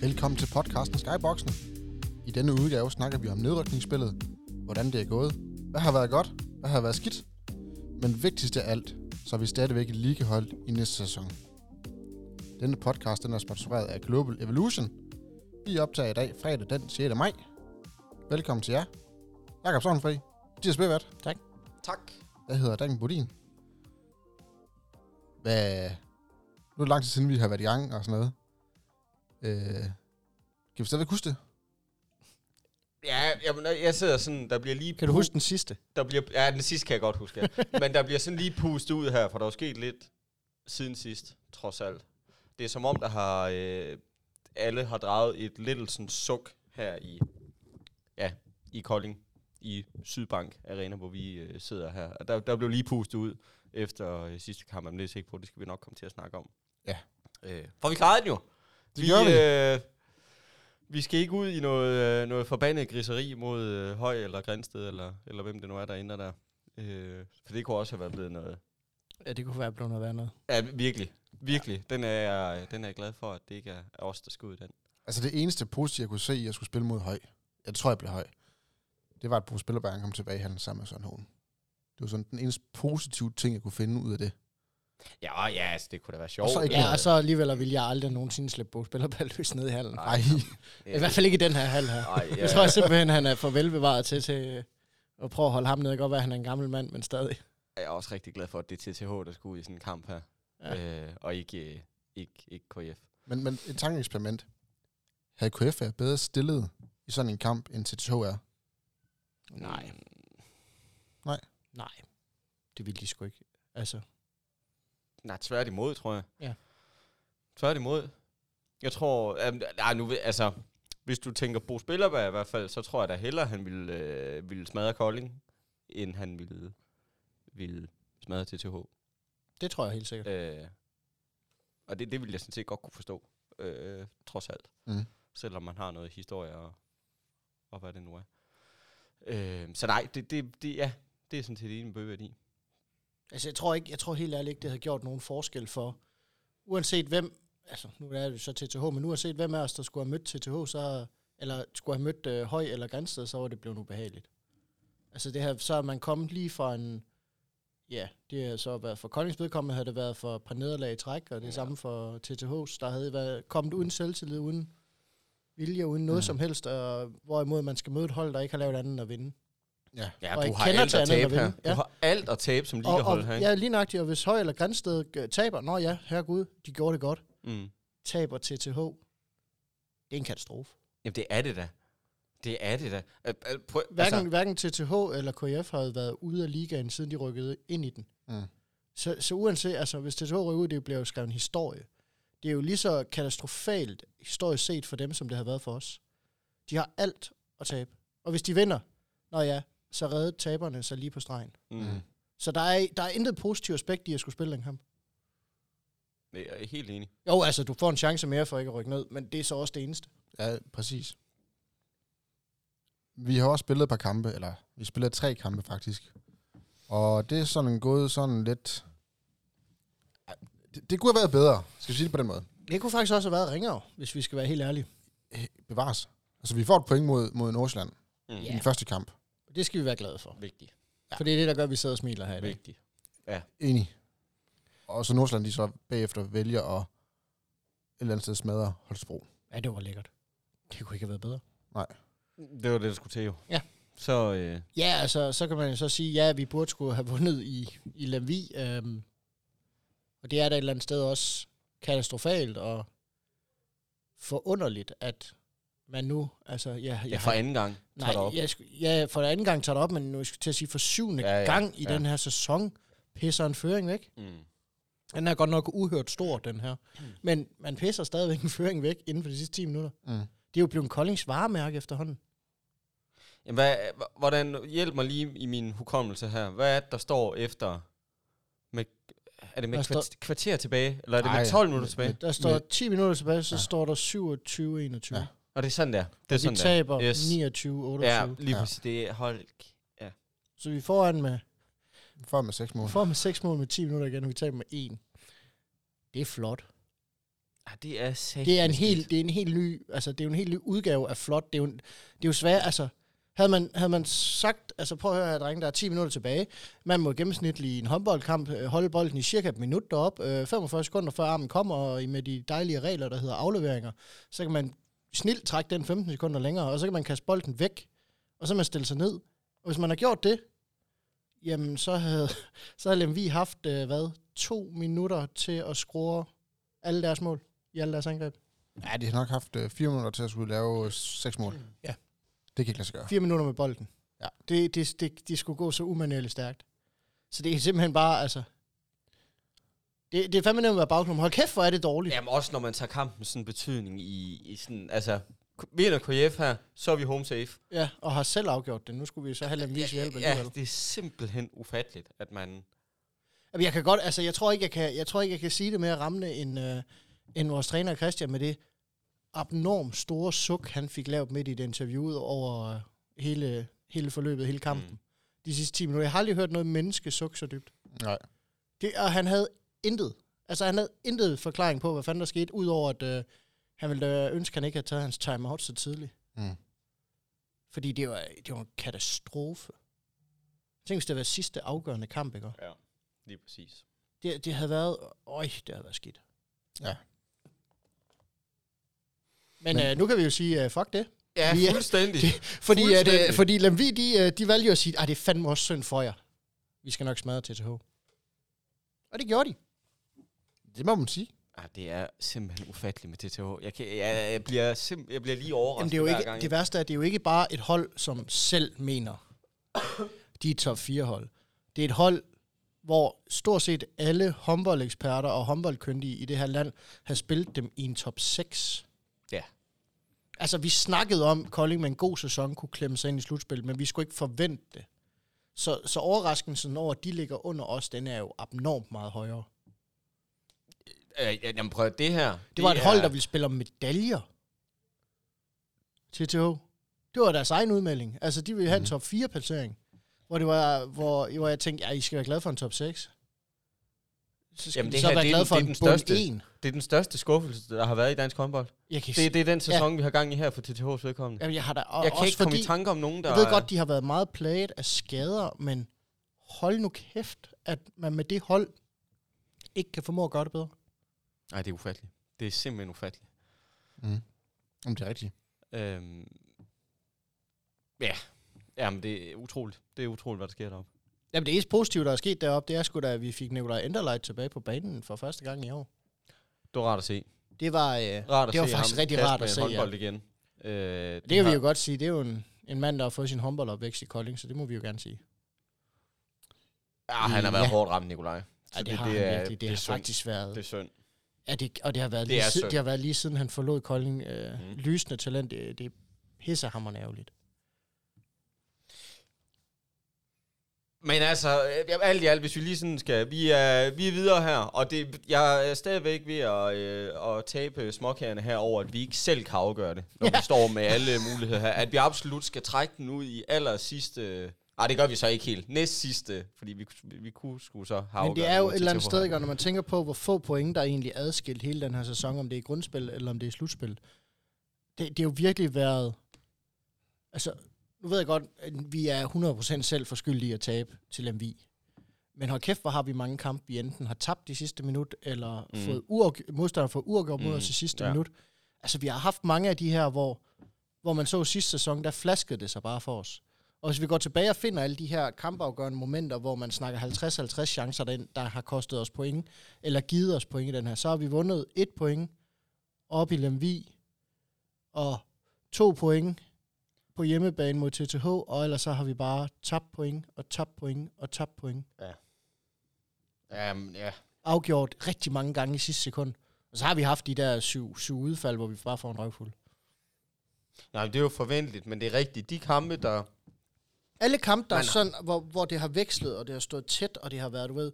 Velkommen til podcasten Skyboxen. I denne udgave snakker vi om nedrykningsspillet, hvordan det er gået, hvad har været godt, hvad har været skidt, men vigtigst af alt, så er vi stadigvæk et ligehold i næste sæson. Denne podcast den er sponsoreret af Global Evolution. Vi optager i dag fredag den 6. maj. Velkommen til jer. Jakob Sovnfri, Mathias Bevert. Tak. Tak. Jeg hedder Dan Bodin. Hvad... Nu er det lang tid siden, vi har været i gang og sådan noget. Øh, kan vi stadigvæk huske det? Ja, jamen, jeg sidder sådan, der bliver lige... Kan du huske den sidste? Der bliver, ja, den sidste kan jeg godt huske, ja. Men der bliver sådan lige pustet ud her, for der er jo sket lidt siden sidst, trods alt. Det er som om, der har... Øh, alle har draget et lidt sådan suk her i... Ja, i Kolding. I Sydbank Arena, hvor vi øh, sidder her. Og der, der blev lige pustet ud efter øh, sidste kamp. Men det er jeg sikker på, det skal vi nok komme til at snakke om. Ja. Øh, for vi klarede den jo. Det gjorde vi. Øh, vi skal ikke ud i noget, øh, noget forbandet griseri mod øh, Høj eller Grænsted, eller, eller hvem det nu er, der ender der. Øh, for det kunne også have været blevet noget. Ja, det kunne være blevet noget andet. Ja, virkelig. Virkelig. Den er, jeg- den er jeg glad for, at det ikke er er os, der skal ud i den. Altså det eneste positive, jeg kunne se, at jeg skulle spille mod Høj. Jeg tror, jeg blev Høj. Det var, at Bo Spillerbær kom tilbage i handel sammen med Søren Hohen. Det var sådan den eneste positive ting, jeg kunne finde ud af det. Ja, ja, altså, det kunne da være sjovt. Og så ikke- Ja, og så alligevel vil jeg aldrig nogensinde slippe Bo Spillerbær løs ned i hallen. Nej. Ej, I hvert fald ikke i den her hal her. Ej, ja. Jeg tror simpelthen, han er for velbevaret til, til at prøve at holde ham ned. Det kan godt være, at han er en gammel mand, men stadig. Jeg er også rigtig glad for, at det er TTH, der skal ud i sådan en kamp her. Ja. Øh, og ikke, øh, ikke, ikke KF. men, men et tankeeksperiment. Havde KF været bedre stillet i sådan en kamp, end TTH er? Nej. Mm, Nej. Nej. Det ville de sgu ikke. Altså, Nej, tværtimod, tror jeg. Ja. Tværtimod. Jeg tror, um, nej, nu, ved- altså, hvis du tænker Bo Spillerberg i hvert fald, så tror jeg da hellere, han ville, øh, ville smadre Kolding, end han ville, ville smadre TTH. det tror jeg helt sikkert. Øh, og det, det ville jeg sådan set godt kunne forstå, øh, trods alt. Mm. Selvom man har noget historie og, og hvad det nu er. Øh, så nej, det, det, det, ja, det er sådan set enig med Bøgeværd i. Altså, jeg tror, ikke, jeg tror helt ærligt ikke, det havde gjort nogen forskel for, uanset hvem, altså nu er det jo så TTH, men uanset hvem af os, der skulle have mødt TTH, så, eller skulle have mødt øh, Høj eller Grænsted, så var det blevet ubehageligt. Altså det her, så er man kommet lige fra en, ja, det har så været for Koldings vedkommende, havde det været for et par nederlag i træk, og det ja. Ja. samme for TTH's, der havde været, kommet uden selvtillid, uden vilje, uden noget Mhm. mm. som helst, og hvorimod man skal møde et hold, der ikke har lavet andet end at vinde. Ja. Ja, Og du ikke har kender alt til at andet end at tabe her. vinde. Ja. Du har alt at tabe som Og, og, ligahold her, ikke? ja, lige nøjagtigt, og hvis Høj eller Grænsted øh, taber, nå ja, herregud, de gjorde det godt. Mm. taber TTH, det er en katastrofe. Jamen, det er det da. Det er det da. Al- al- Prøv, Hverken, altså, hverken TTH eller KF har jo været ude af ligaen, siden de rykkede ind i den. Mm. Så, så uanset, altså hvis TTH rykker ud, det bliver jo skrevet en historie. Det er jo lige så katastrofalt historisk set for dem, som det har været for os. De har alt at tabe. Og hvis de vinder, nå ja, så redder taberne sig lige på stregen. mm. Så der er, der er intet positivt aspekt i at skulle spille den kamp. Jeg er helt enig. Jo, altså, du får en chance mere for ikke at rykke ned, men det er så også det eneste. Ja, præcis. Vi har også spillet et par kampe, eller vi spillede tre kampe faktisk. Og det er sådan gået sådan lidt... Ej, Det, det kunne have været bedre, skal vi sige det på den måde. Det kunne faktisk også have været ringere, hvis vi skal være helt ærlige. Øh, Bevares. Altså, vi får et point mod, mod Nordsjælland Mm. ja. i Ja. den første kamp. Det skal vi være glade for. Vigtigt. Ja. For det er det, der gør, at vi sidder og smiler her i dag. Vigtigt. Enig. Og så Nordsjælland, de så bagefter vælger at et eller andet sted smadre Holstebro. Ja, det var lækkert. Det kunne ikke have været bedre. Det var det, der skulle til jo. Ja. Så, øh, Ja, altså, så kan man jo så sige, ja, vi burde skulle have vundet i, i Lemvi. Øhm, og det er da et eller andet sted også katastrofalt og forunderligt, at man nu, altså, ja, ja, for anden gang tager det nej, op. jeg, sku- ja, for anden gang tager det op, men nu skal jeg til at sige for syvende Ja, ja, ja, ja, gang i ja. ja. den her sæson, pisser en føring væk. Mm. Den er godt nok uhørt stor, den her. Men man pisser stadigvæk en føring væk inden for de sidste 10 minutter. Mm. Det er jo blevet Koldings varemærke efterhånden. Jamen, hvad, h- hvordan, hjælp mig lige i min hukommelse her. Hvad er det, der står efter... Med, er det med Hvad står- kvarter, kvarter tilbage? Eller er det Ej, med 12 minutter tilbage? Der står Men- 10 minutter tilbage, så Ja. ja. står der 27-21. Ja, Ja, Og det er sådan der. Det er vi sådan der. taber Yes. yes. 29-28. Ja, Ja. lige Ja. præcis. Det er hold... Så vi får en med, Før med seks mål. får med 6 mål med 10 minutter igen, og vi taber med 1. Det er flot. Ja, det er sagt. Det er en helt, det er en helt ny, altså det er jo en helt ny udgave af flot. Det er jo, en, det er jo svært, altså havde man, havde man sagt, altså prøv at høre her, drenge, der er 10 minutter tilbage. Man må gennemsnitligt i en håndboldkamp øh, holde bolden i cirka et minut derop, øh, 45 sekunder før armen kommer, og i- med de dejlige regler, der hedder afleveringer, så kan man snilt trække den 15 sekunder længere, og så kan man kaste bolden væk, og så kan man stille sig ned. Og hvis man har gjort det, jamen så havde, så havde Lemvi haft, øh, hvad, to minutter til at score alle deres mål i alle deres angreb. Ja, de har nok haft øh, fire minutter til at skulle lave øh, seks mål. Ja. Det kan ikke lade sig gøre. Fire minutter med bolden. Ja. Det, det, det, det skulle gå så umanuelt stærkt. Så det er simpelthen bare, altså... Det, det er fandme nemt at være bagklub. Hold kæft, hvor er det dårligt. Jamen også når man tager kampen sådan betydning i, i sådan, altså, k- vinder KF her, så er vi home safe. Ja, og har selv afgjort det. Nu skulle vi så have dem vise hjælp ja, alligevel. det er simpelthen ufatteligt, at man... Jamen, jeg kan godt, altså, jeg tror ikke, jeg kan, jeg tror ikke, jeg kan sige det mere rammende, end, øh, end vores træner Christian med det abnorm store suk, han fik lavet midt i det interviewet over øh, hele, hele forløbet, hele kampen. Mm. Mm. De sidste 10 minutter. Jeg har aldrig hørt noget menneske sukke så dybt. Nej. Det, og han havde intet. Altså, han havde intet forklaring på, hvad fanden der skete, udover at øh, han ville øh, ønske, at han ikke havde taget hans timeout så tidligt. Mm. Fordi det var, det var en katastrofe. Tænk, hvis det var sidste afgørende kamp, ikke? Ja, lige præcis. Det, det havde været... Øj, det havde været skidt. Ja. Men- Men, Men. Øh, nu kan vi jo sige, øh, fuck det. Ja, Vi er- fuldstændig. Fordi, at, øh, Fuldstændig. fordi Lemvi, de, øh, de valgte jo at sige, at det er fandme også synd for jer. Vi skal nok smadre TTH. Og det gjorde de. Det må man sige. Ah, det er simpelthen ufatteligt med TTH. Jeg, kan, jeg, jeg, bliver, sim, jeg bliver lige overrasket Jamen, det, er jo hver ikke, gang. jeg- det værste er, at det er jo ikke bare et hold, som selv mener, de er et top 4 hold. Det er et hold, hvor stort set alle håndboldeksperter og håndboldkyndige i det her land har spillet dem i en top 6. Ja. Altså, vi snakkede om, at Kolding med en god sæson kunne klemme sig ind i slutspillet, men vi skulle ikke forvente det. Så, så overraskelsen over, at de ligger under os, den er jo abnormt meget højere. Øh, ja, jamen prøv at- det her. Det var et hold, er- der ville spille om medaljer. TTH. Det var deres egen udmelding. Altså, de ville have en Mhm. top 4-placering. Hvor, det var, hvor, hvor jeg tænkte, ja, I skal være glad for en top 6. Så skal Jamen, Jamen, det så her, være det er glad den- for det er en den bund største. 1. Det er den største skuffelse, der har været i dansk håndbold. Jeg, kan, Det, det, det er den sæson, ja. vi har gang i her for TTH's vedkommende. jamen, jeg har da og, jeg kan også ikke komme fordi, i tanke om nogen, der... Jeg ved godt, de har været meget plaget af skader, men hold nu kæft, at man med det hold ikke kan formå at gøre det bedre. Nej, det er ufatteligt. Det er simpelthen ufatteligt. Mm. Jamen, det er rigtigt. Øhm, ja, Jamen, det er utroligt. Det er utroligt, hvad der sker deroppe. Jamen, det eneste positive, der er sket deroppe, det er sgu da, at vi fik Nikolaj Enderleit tilbage på banen for første gang i år. Det var rart at se. Det var, øh, Rart at Det var se faktisk ham rigtig kaste rart med at en se, ja. håndbold igen. Øh, det, Det kan vi jo godt sige. Det er jo en, en mand, der har fået sin håndboldopvækst i Kolding, så det må vi jo gerne sige. Ja, Ah, han har været Ja. ja. hårdt ramt, Nikolaj. Så Ja, det, det, har han virkelig. Det, er det har synd. faktisk Det er været... synd. Ja, det, og det har, været Det lige, er siden, synd. det har været lige siden, han forlod Kolding. Øh, Mm. mm. Lysende talent, det, det pisser hammerende ærgerligt. Men altså, øh, jamen, alt i alt, hvis vi lige sådan skal... Vi er, vi er videre her, og det, jeg er stadigvæk ved at, øh, at tabe småkagerne her over, at vi ikke selv kan afgøre det, når ja. vi står med alle muligheder her. At vi absolut skal trække den ud i aller sidste... Ej, det gør vi så ikke helt. Næst sidste, fordi vi, vi kunne skulle så have Men det afgjort er jo mod et eller andet TTH. sted, ikke, og når man tænker på, hvor få point, der egentlig adskilt hele den her sæson, om det er grundspil eller om det er slutspil. Det, det har jo virkelig været... Altså, nu ved jeg godt, at vi er 100% selv for skyld i at tabe til MV. Men hold kæft, hvor har vi mange kampe, vi enten har tabt de sidste minut, eller Mm. mm. fået uafg- modstandere for uafgjort mod Mm, os i sidste ja. minut. Altså, vi har haft mange af de her, hvor, hvor man så sidste sæson, der flaskede det sig bare for os. Og hvis vi går tilbage og finder alle de her kampafgørende momenter, hvor man snakker 50-50 chancer, der, der har kostet os point, eller givet os point i den her, så har vi vundet et point op i Lemvi, og to point på hjemmebane mod TTH, og ellers så har vi bare tabt point, og tabt point, og tabt point. Jamen, ja. Afgjort rigtig mange gange i sidste sekund. Og så har vi haft de der syv, syv udfald, hvor vi bare får en røvfuld. Nej, det er jo forventeligt, men det er rigtigt. De kampe, der... Alle kampe, der er Man- sådan, hvor, hvor det har vekslet, og det har stået tæt, og det har været, du ved,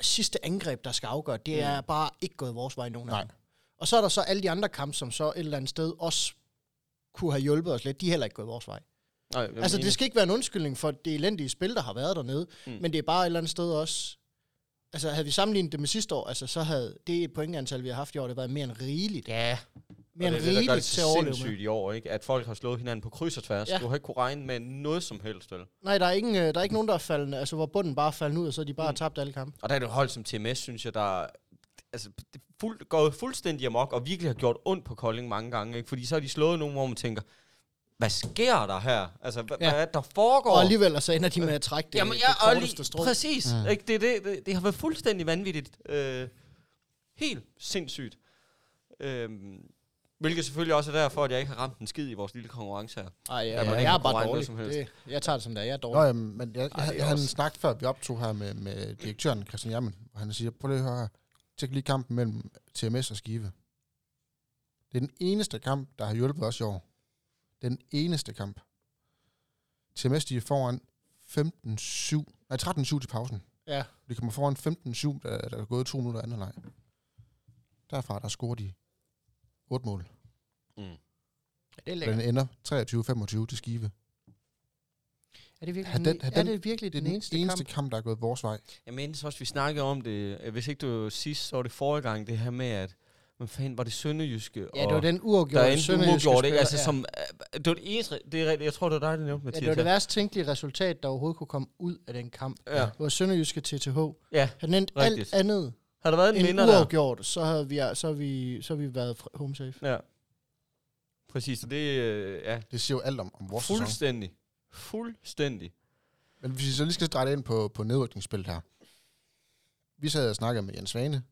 sidste angreb, der skal afgøre, det mm. er bare ikke gået vores vej nogen af dem. Og så er der så alle de andre kampe, som så et eller andet sted også kunne have hjulpet os lidt, de er heller ikke gået vores vej. Nej, jeg altså, mener- det skal ikke være en undskyldning for det elendige spil, der har været dernede, Mm. mm. men det er bare et eller andet sted også, altså havde vi sammenlignet det med sidste år, altså så havde det pointantal, vi har haft i år, det været mere end rigeligt. Ja. Mere og end det er det, der gør det rigeligt til at så overleve med. sindssygt i år, ikke? At folk har slået hinanden på kryds og tværs. Ja. Ja. Du har ikke kunne regne med noget som helst, vel? Nej, der er, ingen, øh, der er ikke nogen, der er faldende, altså hvor bunden bare er faldende ud, og så er de bare mm. tabt alle kampe. Og der er det hold som TMS, synes jeg, der altså, det er fuld, gået fuldstændig amok, og virkelig har gjort ondt på Kolding mange gange. Ikke? Fordi så har de slået nogen, hvor man tænker, hvad sker der her? Altså, hva, ja. Ja. hvad er det, der foregår? Og alligevel så ender de med at trække det, Jamen, det ja, og korteste lige, strå. præcis. Mm. Ikke? Det, er det, det, det har været fuldstændig vanvittigt. Øh, helt sindssygt. Øh, hvilket selvfølgelig også er derfor, at jeg ikke har ramt en skid i vores lille konkurrence her. Ej, ja, man ikke ja, jeg er kan regne bare noget dårlig. som helst. Det, jeg tager det som det er, jeg er dårlig. Nå, jamen, men jeg, Ej, jeg, det er jeg havde også- en snak før, vi optog her med, med direktøren Christian Jermen, og han siger, prøv lige at høre her, tjek lige kampen mellem TMS og Skive. Det er den eneste kamp, der har hjulpet os i år. Den eneste kamp. TMS, de er foran 15-7, nej 13-7 til pausen. Ja. De kommer foran 15-7, der, der er gået to minutter anden leg. Derfra, der scorer de 8 mål. Mm. Det er Den ender 23-25 til Skive. Er det Har virkelig, den- den, e- har er den- det virkelig Det er den, eneste, kamp? kamp, der er gået vores vej. Jeg mindes også, vi snakkede om det, øh, hvis ikke du sidst så var det forrige gang, det her med, at hvad fanden var det sønderjyske? Ja, det var og den der uafgjorte endte uafgjort, ikke? spiller, Altså, ja. som, øh, det var det eneste, det er, rigtigt. jeg tror, det var dig, der nævnte, Ja, Mathias. det var det værst tænkelige resultat, der overhovedet kunne komme ud af den kamp. Ja. Det var Sønderjyske TTH. Ja, Han endte rigtigt. alt andet Har der været en end vinder der? uafgjort, så havde vi, så havde vi, så havde vi været fr- home safe. Ja. Præcis, og det øh, ja, Det siger jo alt om, om vores sæson. fuldstændig. Fuldstændig. Men hvis vi så lige skal dreje det ind på, på nedrykningsspillet her. Vi sad og snakkede med Jens Svane,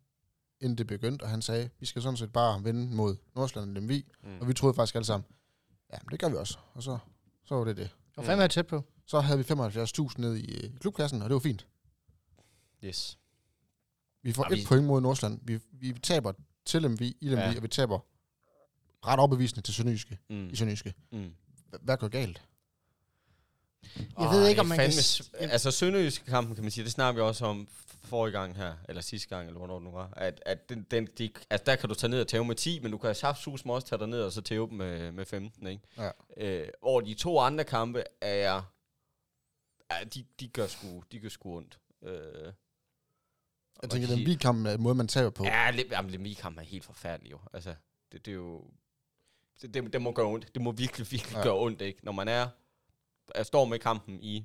inden det begyndte, og han sagde, vi skal sådan set bare vende mod Nordsjælland og Lemvi. Mm. Og vi troede faktisk alle sammen, ja, men det gør vi også. Og så, så var det det. Og fandme er tæt på. Så havde vi 75.000 ned i øh, klubkassen, og det var fint. Yes. Vi får Og vi- et point mod Nordsjælland. Vi, vi taber til Lemvi i Lemvi, Ja. ja. og vi taber ret overbevisende til Sønderjyske. Mm. I Sønderjyske. Mm. H- Hvad går galt? Jeg ved Ej, ikke, om man kan... fandme s- s- Altså, sønderjyske kampen, kan man sige, det snakker vi også om f- forrige gang her, eller sidste gang, eller hvornår det nu var, at, at den, den, de, altså, der kan du tage ned og tæve med 10, men du kan saftsus også tage dig ned og så tæve dem med, med 15, ikke? Ja. Øh, hvor de to andre kampe er jeg... Ja, de, de gør sgu, de gør sgu ondt. Øh, Jeg tænker, Og den vildkamp er en måde, man taber på. Ja, Le- jamen, Lemmy-kampen er helt forfærdelig jo. Altså, det, det er jo... Det, det, det må gøre ondt. Det må virkelig, virkelig ja. Ja. gøre ondt, ikke? Når man er, er står med kampen i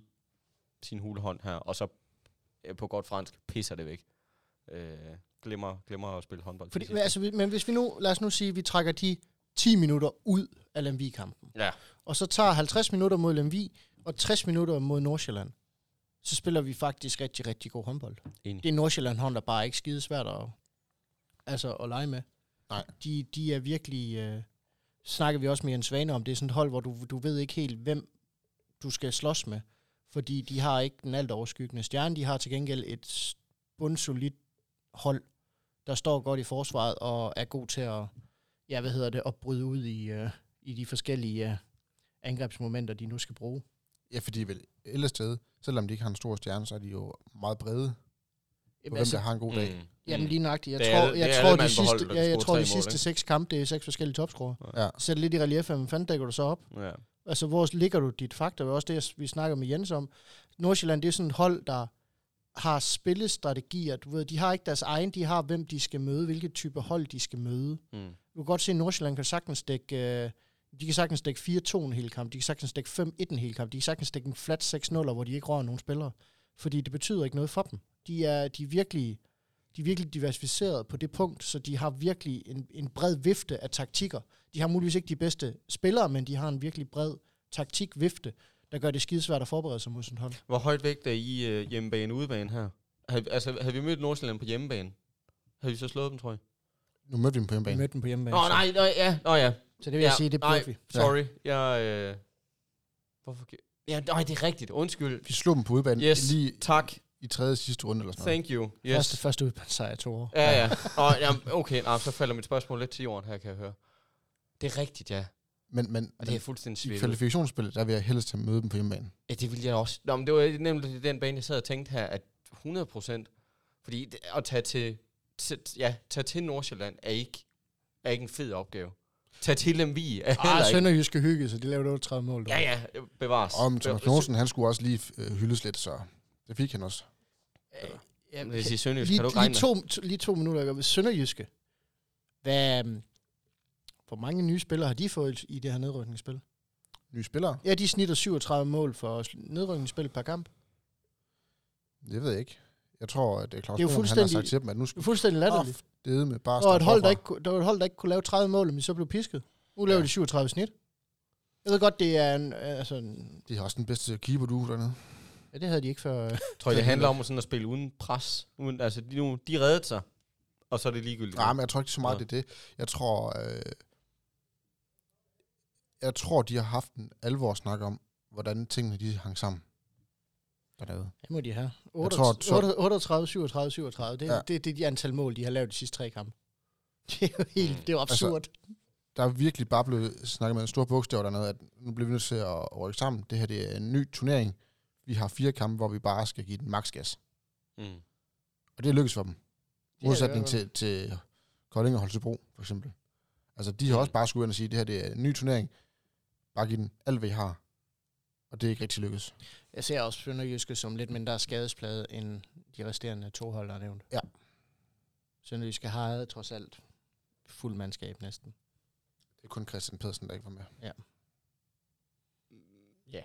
sin hulehånd her, og så øh, på godt fransk pisser det væk. Øh, glemmer, glemmer at spille håndbold. til Fordi, sidst. men, altså, vi- men hvis vi nu, lad os nu sige, at vi trækker de 10 minutter ud af Lemvi-kampen, ja, og så tager 50 minutter mod Lemvi, og 60 minutter mod Nordsjælland, så spiller vi faktisk rigtig, rigtig god håndbold. enig. Det er Nordsjælland hånd, der bare er ikke skide svært at, altså, at lege med. Nej. De, de er virkelig, øh, snakker vi også med Jens Svane om, det er sådan et hold, hvor du, du ved ikke helt, hvem du skal slås med. Fordi de har ikke den alt overskyggende stjerne, de har til gengæld et s- bundsolidt hold, der står godt i forsvaret og er god til at, ja, hvad hedder det, at bryde ud i, øh, i de forskellige øh, angrebsmomenter, de nu skal bruge. Ja, fordi vel ellers sted, selvom de ikke har en stor stjerne, så er de jo meget brede på, hvem der har en god dag. Mm. altså, Jamen Mm. lige nøjagtigt. Jeg Det er tror, alle- det jeg er alle tror, mand de på holdet, sidste, der ja, jeg scorer tror, tre de mål, sidste seks kampe, det er seks forskellige topscorer. Ja. Sæt lidt i relief, men fanden dækker du så op? Ja. Altså, hvor ligger du dit faktor? Det er også det, jeg- vi snakker med Jens om. Nordsjælland, det er sådan et hold, der har spillestrategier. Du ved, de har ikke deres egen, de har, hvem de skal møde, hvilke type hold de skal møde. Mm. Du kan godt se, at Nordsjælland kan sagtens dække... Øh, de kan sagtens dække 4-2 en hel kamp, de kan sagtens dække 5-1 en hel kamp, de kan sagtens dække en flat 6-0, hvor de ikke rører nogen spillere. Fordi det betyder ikke noget for dem. De er, de er, virkelig, de er virkelig diversificeret på det punkt, så de har virkelig en, en bred vifte af taktikker. De har muligvis ikke de bedste spillere, men de har en virkelig bred taktikvifte, der gør det skidesvært at forberede sig mod sådan et hold. Hvor højt vægt er I øh, hjemmebane udebane her? Havde, altså, havde vi mødt Nordsjælland på hjemmebane? Havde vi så slået dem, tror jeg? Mm. Nu mødte vi dem på Vi hjemmebane. mødte dem på hjemmebane. Nå, nej, nej, ja, nå, ja. Så det vil jeg Ja, sige, det nej. burde vi. Sorry, jeg... Øh, hvorfor... gi- Ja, nej, det er rigtigt. Undskyld. Vi slog dem på udbanen Yes. yes. lige Tak. i tredje sidste runde eller sådan noget. Thank you. Yes. Første, Yes. første udbandssejr i to år. Ja, ja. Og, jamen, okay, nej, så falder mit spørgsmål lidt til jorden her, kan jeg høre. Det er rigtigt, ja. Men, men, Og det men er fuldstændig i svært. kvalifikationsspillet, der vil jeg helst have møde dem på hjemmebane. Ja, det ville jeg også. Nå, men det var nemlig den bane, jeg sad og tænkte her, at 100 procent, fordi det- at tage til, til, ja, tage til Nordsjælland er ikke, er ikke en fed opgave. Tage til Lemvig er Ah, heller ikke. Sønderjyske hyggede, så de lavede 38 mål. Ja, ja, bevares. Og om Thomas Bevares. Knudsen, han skulle også lige øh, hyldes lidt, så det fik han også. Øh, Ja, Hvis I er sønderjysk, lige, kan du ikke lige, regne med? to, to, lige to minutter. ikke? Sønderjyske. Hvad, øhm, hvor mange nye spillere har de fået i det her nedrykningsspil? Nye spillere? Ja, de snitter 37 mål for sl- nedrykningsspil per kamp. Det ved jeg ikke. Jeg tror, at øh, Claus Det er jo Brun, han har fuldstændig- sagt til dem, at nu Det er skal fuldstændig latterligt. Oh, det med bare der var et starte hold, der forfra. ikke, kunne- der var et hold, der ikke kunne lave 30 mål, men så blev pisket. Nu laver Ja. de 37 snit. Jeg ved godt, det er en... Altså, en De har også den bedste keeper, du dernede. ja, det havde de ikke før. øh. Tror I, det handler om sådan at spille uden pres? Uden, altså, de, nu, de reddede sig, og så er det ligegyldigt. Nej, men jeg tror ikke så meget, Nå. det er det. Jeg tror, øh, jeg tror, de har haft en alvor snak om, hvordan tingene de hang sammen. Dernede. Hvad må de have? tror, så- 38, 38, 37, 37. Det, Ja. ja. det, det er de antal mål, de har lavet de sidste tre kampe. Det er jo helt, det er jo Altså, absurd. Der er virkelig bare blevet snakket med en stor bogstav dernede, at nu bliver vi nødt til at rykke sammen. Det her det er en ny turnering. Vi har fire kampe, hvor vi bare skal give den maks gas. Mm. Og det er lykkedes for dem. det Modsætning er- til, til Kolding og Holstebro, for eksempel. Altså, de har også bare skulle ind og sige, at det her det er en ny turnering. Bare giv den alt, hvad I har. Og det er ikke rigtig lykkedes. Jeg ser også Sønderjyske som lidt mindre skadesplade, end de resterende to hold, der er nævnt. Ja. Sønderjyske har trods alt fuld mandskab næsten. Det er kun Christian Pedersen, der ikke var med. Det, Ja.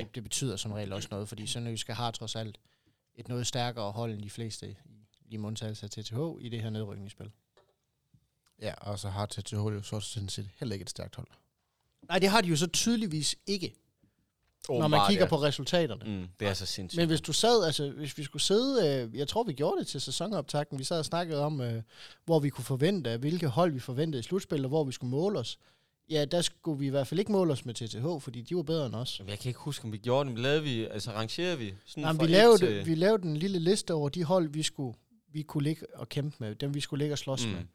ja. det betyder som regel også noget, fordi Sønderjyske har trods alt et noget stærkere hold end de fleste i lige med undtagelse af TTH i det her nedrykningsspil. Ja, og så har TTH jo så sådan set heller ikke et stærkt hold. Nej, det har de jo så tydeligvis ikke, når man Åbenbart, kigger ja. på resultaterne. Mm, det er så sindssygt. Men hvis du sad, altså hvis vi skulle sidde, øh, jeg tror vi gjorde det til sæsonoptakten, vi sad og snakkede om, øh, hvor vi kunne forvente, hvilke hold vi forventede i slutspillet, og hvor vi skulle måle os. Ja, der skulle vi i hvert fald ikke måle os med TTH, fordi de var bedre end os. Men, jeg kan ikke huske, om vi gjorde det. Men lavede vi, altså rangerede vi? Sådan Jamen, fra vi, et øh, lavede, til- vi lavede en lille liste over de hold, vi skulle vi kunne ligge og kæmpe med, dem vi skulle ligge og slås mm. med. Mm.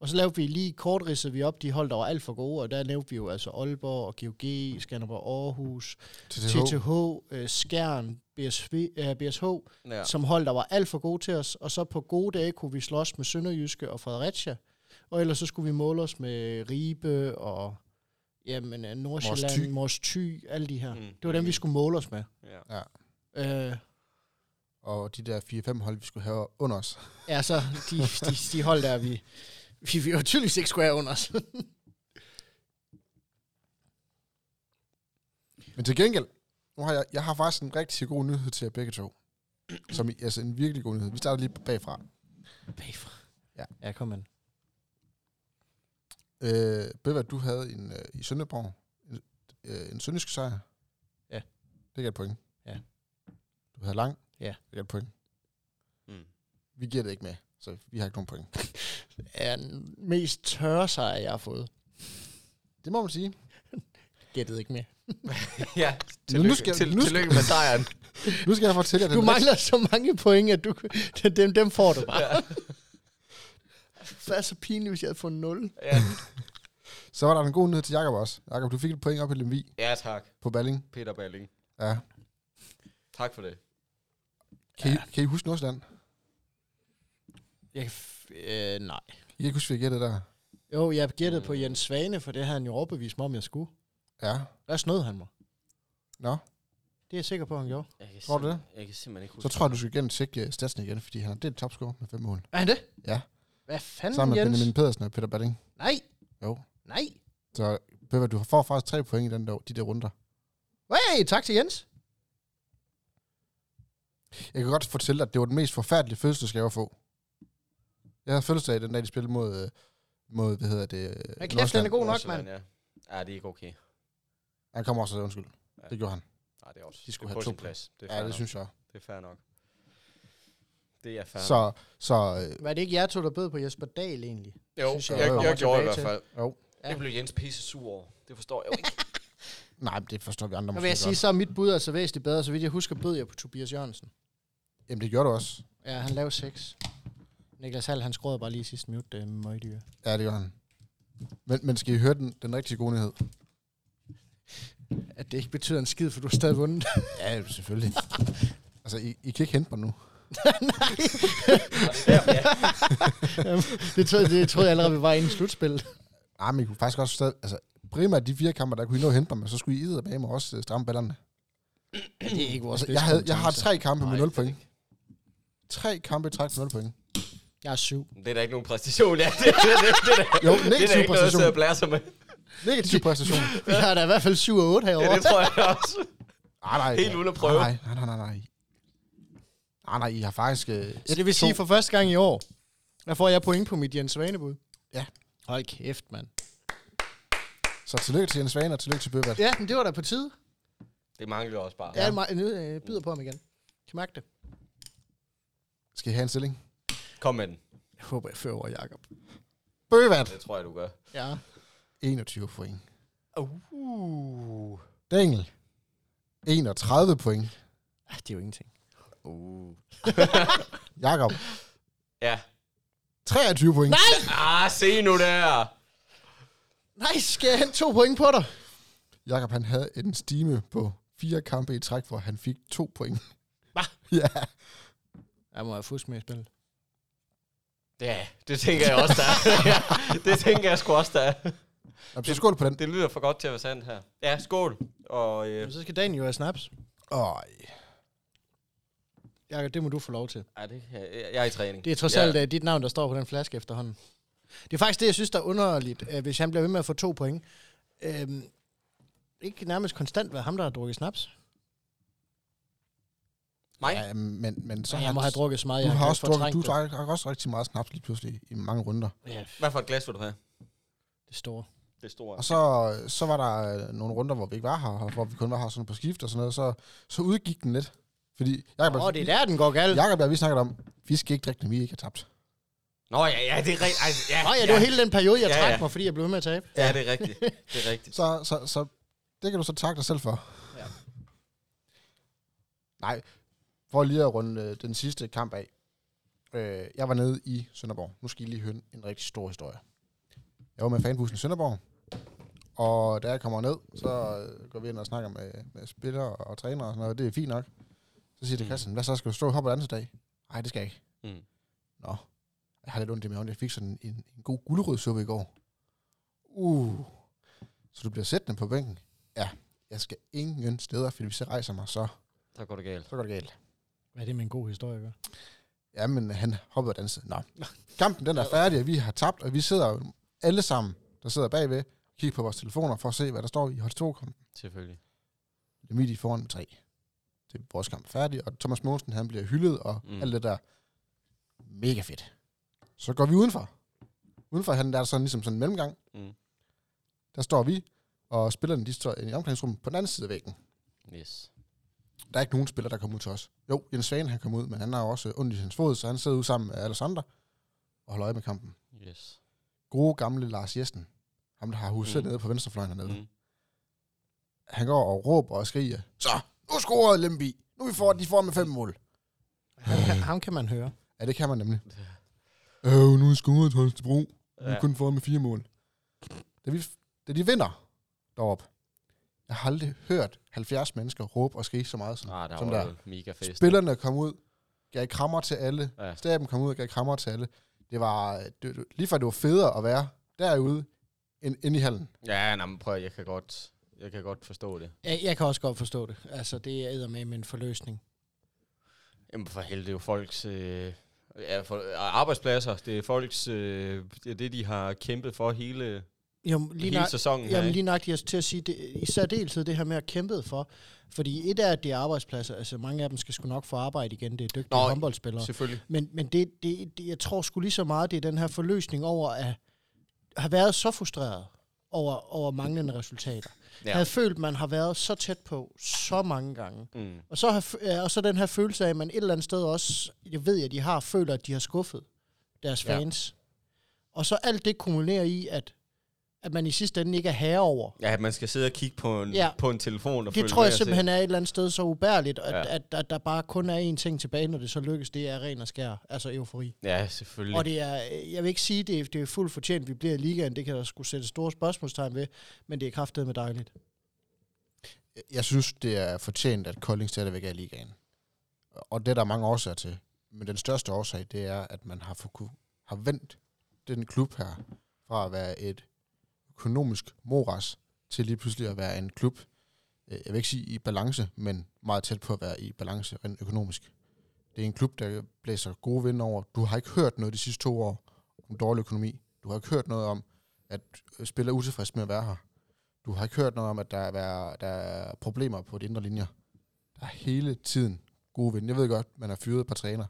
Og så lavede vi lige kort ridsede vi op de hold, der var alt for gode, og der nævnte vi jo altså Aalborg og GOG, Skanderborg Aarhus, TTH, TTH, øh, Skjern, BSV, øh, BSH, Ja. som hold, der var alt for gode til os. Og så på gode dage kunne vi slås med Sønderjyske og Fredericia. Og ellers så skulle vi måle os med Ribe og jamen, øh, Mors Thy. Nordsjælland, Mors Thy, alle de her. Mm. Mm. Det var dem, vi skulle måle os med. Ja. Øh, og de der 4-5 hold, vi skulle have under os. ja, så de, de, de hold der, vi, vi, vi var tydeligvis ikke skulle have under os. Men til gengæld, nu har jeg, jeg har faktisk en rigtig god nyhed til jer begge to. Som, i- altså en virkelig god nyhed. Vi starter lige bagfra. Bagfra. Ja. ja, kom an. Øh, Bøver, du havde en, øh, i Sønderborg en, øh, en sønderjysk sejr. Ja. Det gav et point. Ja. Du havde lang. Ja. Det gav et point. Mm. Vi giver det ikke med, så vi har ikke nogen point. Er den mest tørre sejr, jeg har fået. Det må man sige. Gættede ikke mere. ja, tillykke- tillykke, nu nu skal- skal, til- nu skal- tillykke med sejren. Nu skal jeg fortælle jer den Du rigtig- mangler så mange point, at du, dem, dem får du bare. ja. Det er så pinligt, hvis jeg havde fået 0. Ja. Så var der en god nyhed til Jakob også. Jakob, du fik et point op i Lemvi ja, tak. på Balling. Peter Balling. Ja. Tak for det. Kan, ja. I, kan I huske Nordsjælland? Jeg, kan f- øh, nej. I kan ikke huske, vi gættede der. Jo, jeg gættede på Jens Svane, for det havde han jo overbevist mig om, jeg skulle. Ja. Der snød han mig. Nå, Det er jeg sikker på, han gjorde. Jeg kan Tror du det? simpelthen- Jeg kan simpelthen ikke så huske. tror jeg, du skal igen tjekke øh, statsen igen, fordi han er delt topscore med fem mål. Er han det? Ja. Hvad fanden, Sammen med Jens? Benjamin Pedersen og Peter Balling. Nej. Jo. Nej. Så Bøver, du får faktisk tre point i den der, de der runder. Hey, tak til Jens. Øh, Jeg kan godt fortælle dig, at det var den mest forfærdelige fødselsdagsgave at få. Jeg havde fødselsdag den dag, de spillede mod, øh, mod hvad hedder det, øh, Men kæft, den Nordsjælland. er god nok, Nordsjælland, mand. Ja. ja, det er ikke okay. Han kommer også, undskyld. Ja. Det gjorde han. Nej, det er også. De skulle det er have to på sin point. plads. Det Ja, er, fair det nok. synes jeg. det er fair nok. Det er fair Så, så øh, Var det ikke jer to, der bød på Jesper Dahl egentlig? Jo, synes jeg, jeg, vi jeg, kommer gjorde i tilbage hvert fald. Jo. Ja. Det blev Jens pisse sur over. Det forstår jeg jo ikke. nej, men det forstår vi andre Nu måske vil jeg godt. sige, så er mit bud altså væsentligt bedre, så vidt jeg husker, bød jeg på Tobias Jørgensen. Jamen, det gjorde du også. Ja, han lavede 6. Niklas Hall, han skråede bare lige i sidste minut, det er møgdyr. Ja, det gjorde han. Men, men skal I høre den, den rigtig gode nyhed? At det ikke betyder en skid, for du har stadig vundet. Ja, selvfølgelig. altså, I, I kan ikke hente mig nu. det, troede, det troede jeg allerede, vi var inde i slutspillet. Nej, men I kunne faktisk også stadig... Altså, primært de fire kamper, der kunne I nå at hente mig, men så skulle I edderbage mig også øh, stramme ballerne. Ja, det er ikke vores Altså, bedste jeg, havde, jeg har kompetence. tre kampe med Nej, 0 det er det point. Tre kampe i træk for 0 point. Jeg er syv. Det er da ikke nogen præstation, ja. Det, det, det, det, det, det, Jo, det er da negativ ikke noget, jeg præstation. sidder og blæser med. Negativ præstation. Vi har da i hvert fald syv og otte Ja, herovre. det tror jeg også. Ah, nej, Helt uden at prøve. Nej, Ah, nej, nej, nej. Nej, nej, nej I har faktisk... Øh, Så det vil sige, for første gang i år, der får jeg point på mit Jens Svanebud. Ja. Hold kæft, mand. Så tillykke til Jens Svane og tillykke til Bøbert. Ja, men det var da på tide. Det mangler også bare. Ja. Jeg, nu øh, byder på ham igen. Kan mærke det. Skal I have en stilling? Kom med den. Jeg håber, jeg fører over Jacob. Bøbert! Det tror jeg, du gør. Ja. 21 point. Uh. Daniel. 31 point. Ah, Det er jo ingenting. Uh. Jakob. Ja. 23 point. Nej! Ah, se nu der. Nej, skal jeg hente to point på dig? Jakob han havde en stime på fire kampe i træk, hvor han fik to point. Hva? Ja. Jeg må have fusk med i spillet. Ja, det tænker jeg også, der er. ja, det tænker jeg sgu også, der er. Nå, så skål på den. Det lyder for godt til at være sandt her. Ja, skål. Og øh, Jamen, så skal Daniel jo have snaps. Øj. Jakob, det må du få lov til. ej, det, kan jeg, jeg er i træning. Det er trods Ja. alt ja. dit navn, der står på den flaske efterhånden. Det er faktisk det, jeg synes, der er underligt, øh, hvis han bliver ved med at få to point. Øhm, ikke nærmest konstant været ham, der har drukket snaps. Mig? Ja, men, men så Så jeg må have drukket så meget, du jeg har kan også drukket, fortrænge du det. drak har også rigtig meget snaps lige pludselig i mange runder. Ja, Hvad for et glas vil du have? det store. Det store. Og så, så var der øh, nogle runder, hvor vi ikke var her, og hvor vi kun var her sådan på skift og sådan noget, så, så udgik den lidt. Fordi Jacob, Åh, oh, det er der, den går galt. Jacob og jeg, vi snakkede om, vi skal ikke drikke, når vi ikke har tabt. Nå, ja, ja, det er rigtigt. Ej, Ja, Nå ja, det var hele den periode, jeg Ja, ja, trak ja. mig, fordi jeg blev ved med at tabe. ja, det er rigtigt. Det er rigtigt. Så, så, så det kan du så takke dig selv for. Ja. Nej, for lige at runde øh, den sidste kamp af. Øh, jeg var nede i Sønderborg. Nu skal I lige høre en- en rigtig stor historie. Jeg var med fanbussen i Sønderborg, og da jeg kommer ned, så øh, går vi ind og snakker med, med spillere og trænere og sådan noget. Det er fint nok. Så siger det Mm. Christian, hvad så? Skal du stå og hoppe den anden dag? Nej, det skal jeg ikke. Mm. Nå, jeg har lidt ondt i maven. Jeg fik sådan en, en god gulerødsuppe i går. Uh. Så du bliver sættende på bænken? Ja. Jeg skal ingen steder, fordi hvis jeg rejser mig, så, Så går det galt. så går det galt. Hvad er det med en god historie, gør? Ja, men han hoppede og dansede. Nå. Kampen den er færdig, og vi har tabt, og vi sidder jo alle sammen, der sidder bagved, og kigger på vores telefoner for at se, hvad der står i hold 2 kampen. Selvfølgelig. Lemidi foran med 3. Det er vores kamp færdig, og Thomas Mogensen, han bliver hyldet, og Mm. mm. alt det der. Mega fedt. Så går vi udenfor. Udenfor, han der er sådan ligesom sådan en mellemgang. Mm. Der står vi, og spillerne, de står i omklædningsrummet på den anden side af væggen. Yes. der er ikke nogen spiller, der kommer ud til os. Jo, Jens Svane han kom ud, men han har jo også ondt i hans fod, så han sidder ude sammen med Alexander og holder øje med kampen. Yes. Gode gamle Lars Jessen, ham der har huset Mm. mm. nede på venstrefløjen hernede. Mm. Mm. Han går og råber og skriger, så, nu scorede Lemby, nu vi får, de får med fem mål. Ham kan, ham kan man høre. Ja, det kan man nemlig. Øh, nu er scoret til Holstebro, nu er Ja. vi kun fået med fire mål. Da, vi, da de vinder derop, jeg har aldrig hørt 70 mennesker råbe og skrige så meget som, Ah, der som var der. jo mega fest. Spillerne kom ud, gav krammer til alle, Ja. Staben kom ud og gav krammer til alle. Det var det, det- lige før det var federe at være derude, end inde i hallen. Ja, nej, men prøv, jeg kan godt, jeg kan godt forstå det. Jeg, jeg kan også godt forstå det. Altså, det er med en forløsning. Jamen for helvede, det er jo folks øh, ja, for, øh, arbejdspladser. Det er folks, øh, det, er det, de har kæmpet for hele, Jo, lige hele nok, sæsonen. her, jamen, ikke? lige nok, jeg skal til at sige, det, i særdeleshed det her med at kæmpe for. Fordi et er, at det er arbejdspladser. Altså, mange af dem skal sgu nok få arbejde igen. Det er dygtige Nå, håndboldspillere. Selvfølgelig. Men, men det, det, det, jeg tror sgu lige så meget, det er den her forløsning over at have været så frustreret over, over manglende resultater. Ja. Ja. Havde følt, man har været så tæt på så mange gange. Mm. Og så, har, f- ja, og så den her følelse af, at man et eller andet sted også, jeg ved, at de har, føler, at de har skuffet deres Ja. fans. Og så alt det kumulerer i, at, at man i sidste ende ikke er herre over. Ja, at man skal sidde og kigge på en, ja. Ja. på en telefon. Og Det følge tror med og jeg se. simpelthen er et eller andet sted så ubærligt, at, Ja. ja. at, at, at der bare kun er én ting tilbage, når det så lykkes, det er ren og skær, altså eufori. Ja, selvfølgelig. Og det er, jeg vil ikke sige, det er, det er fuldt fortjent, vi bliver i ligaen, det kan der skulle sætte store spørgsmålstegn ved, men det er kraftedeme med dejligt. Jeg- Jeg synes, det er fortjent, at Kolding stadigvæk er i ligaen. Og det er der mange årsager til. Men den største årsag, det er, at man har, for, ku- har vendt den klub her fra at være et økonomisk moras til lige pludselig at være en klub, øh, jeg vil ikke sige i balance, men meget tæt på at være i balance rent økonomisk. Det er en klub, der blæser gode vind over. Du har ikke hørt noget de sidste to år om dårlig økonomi. Du har ikke hørt noget om, at spillere er utilfredse med at være her. Du har ikke hørt noget om, at der er, der er problemer på de indre linjer. Der er hele tiden gode vind. Jeg ved godt, man har fyret et par træner.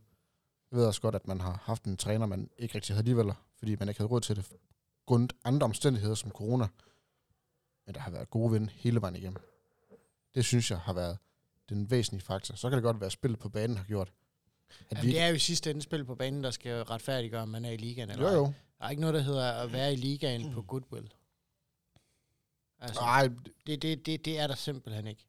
Jeg ved også godt, at man har haft en træner, man ikke rigtig havde alligevel, fordi man ikke havde råd til det. Grundet andre omstændigheder som corona. Men der har været gode vind hele vejen igennem. Det synes jeg har været den væsentlige faktor. Så kan det godt være, at spillet på banen har gjort. At Jamen, det er jo i sidste ende spil på banen, der skal retfærdiggøre, om man er i ligaen eller jo, ej. jo. Der er ikke noget, der hedder at være i ligaen på goodwill. Altså, Nej, det, det, det, det er der simpelthen ikke.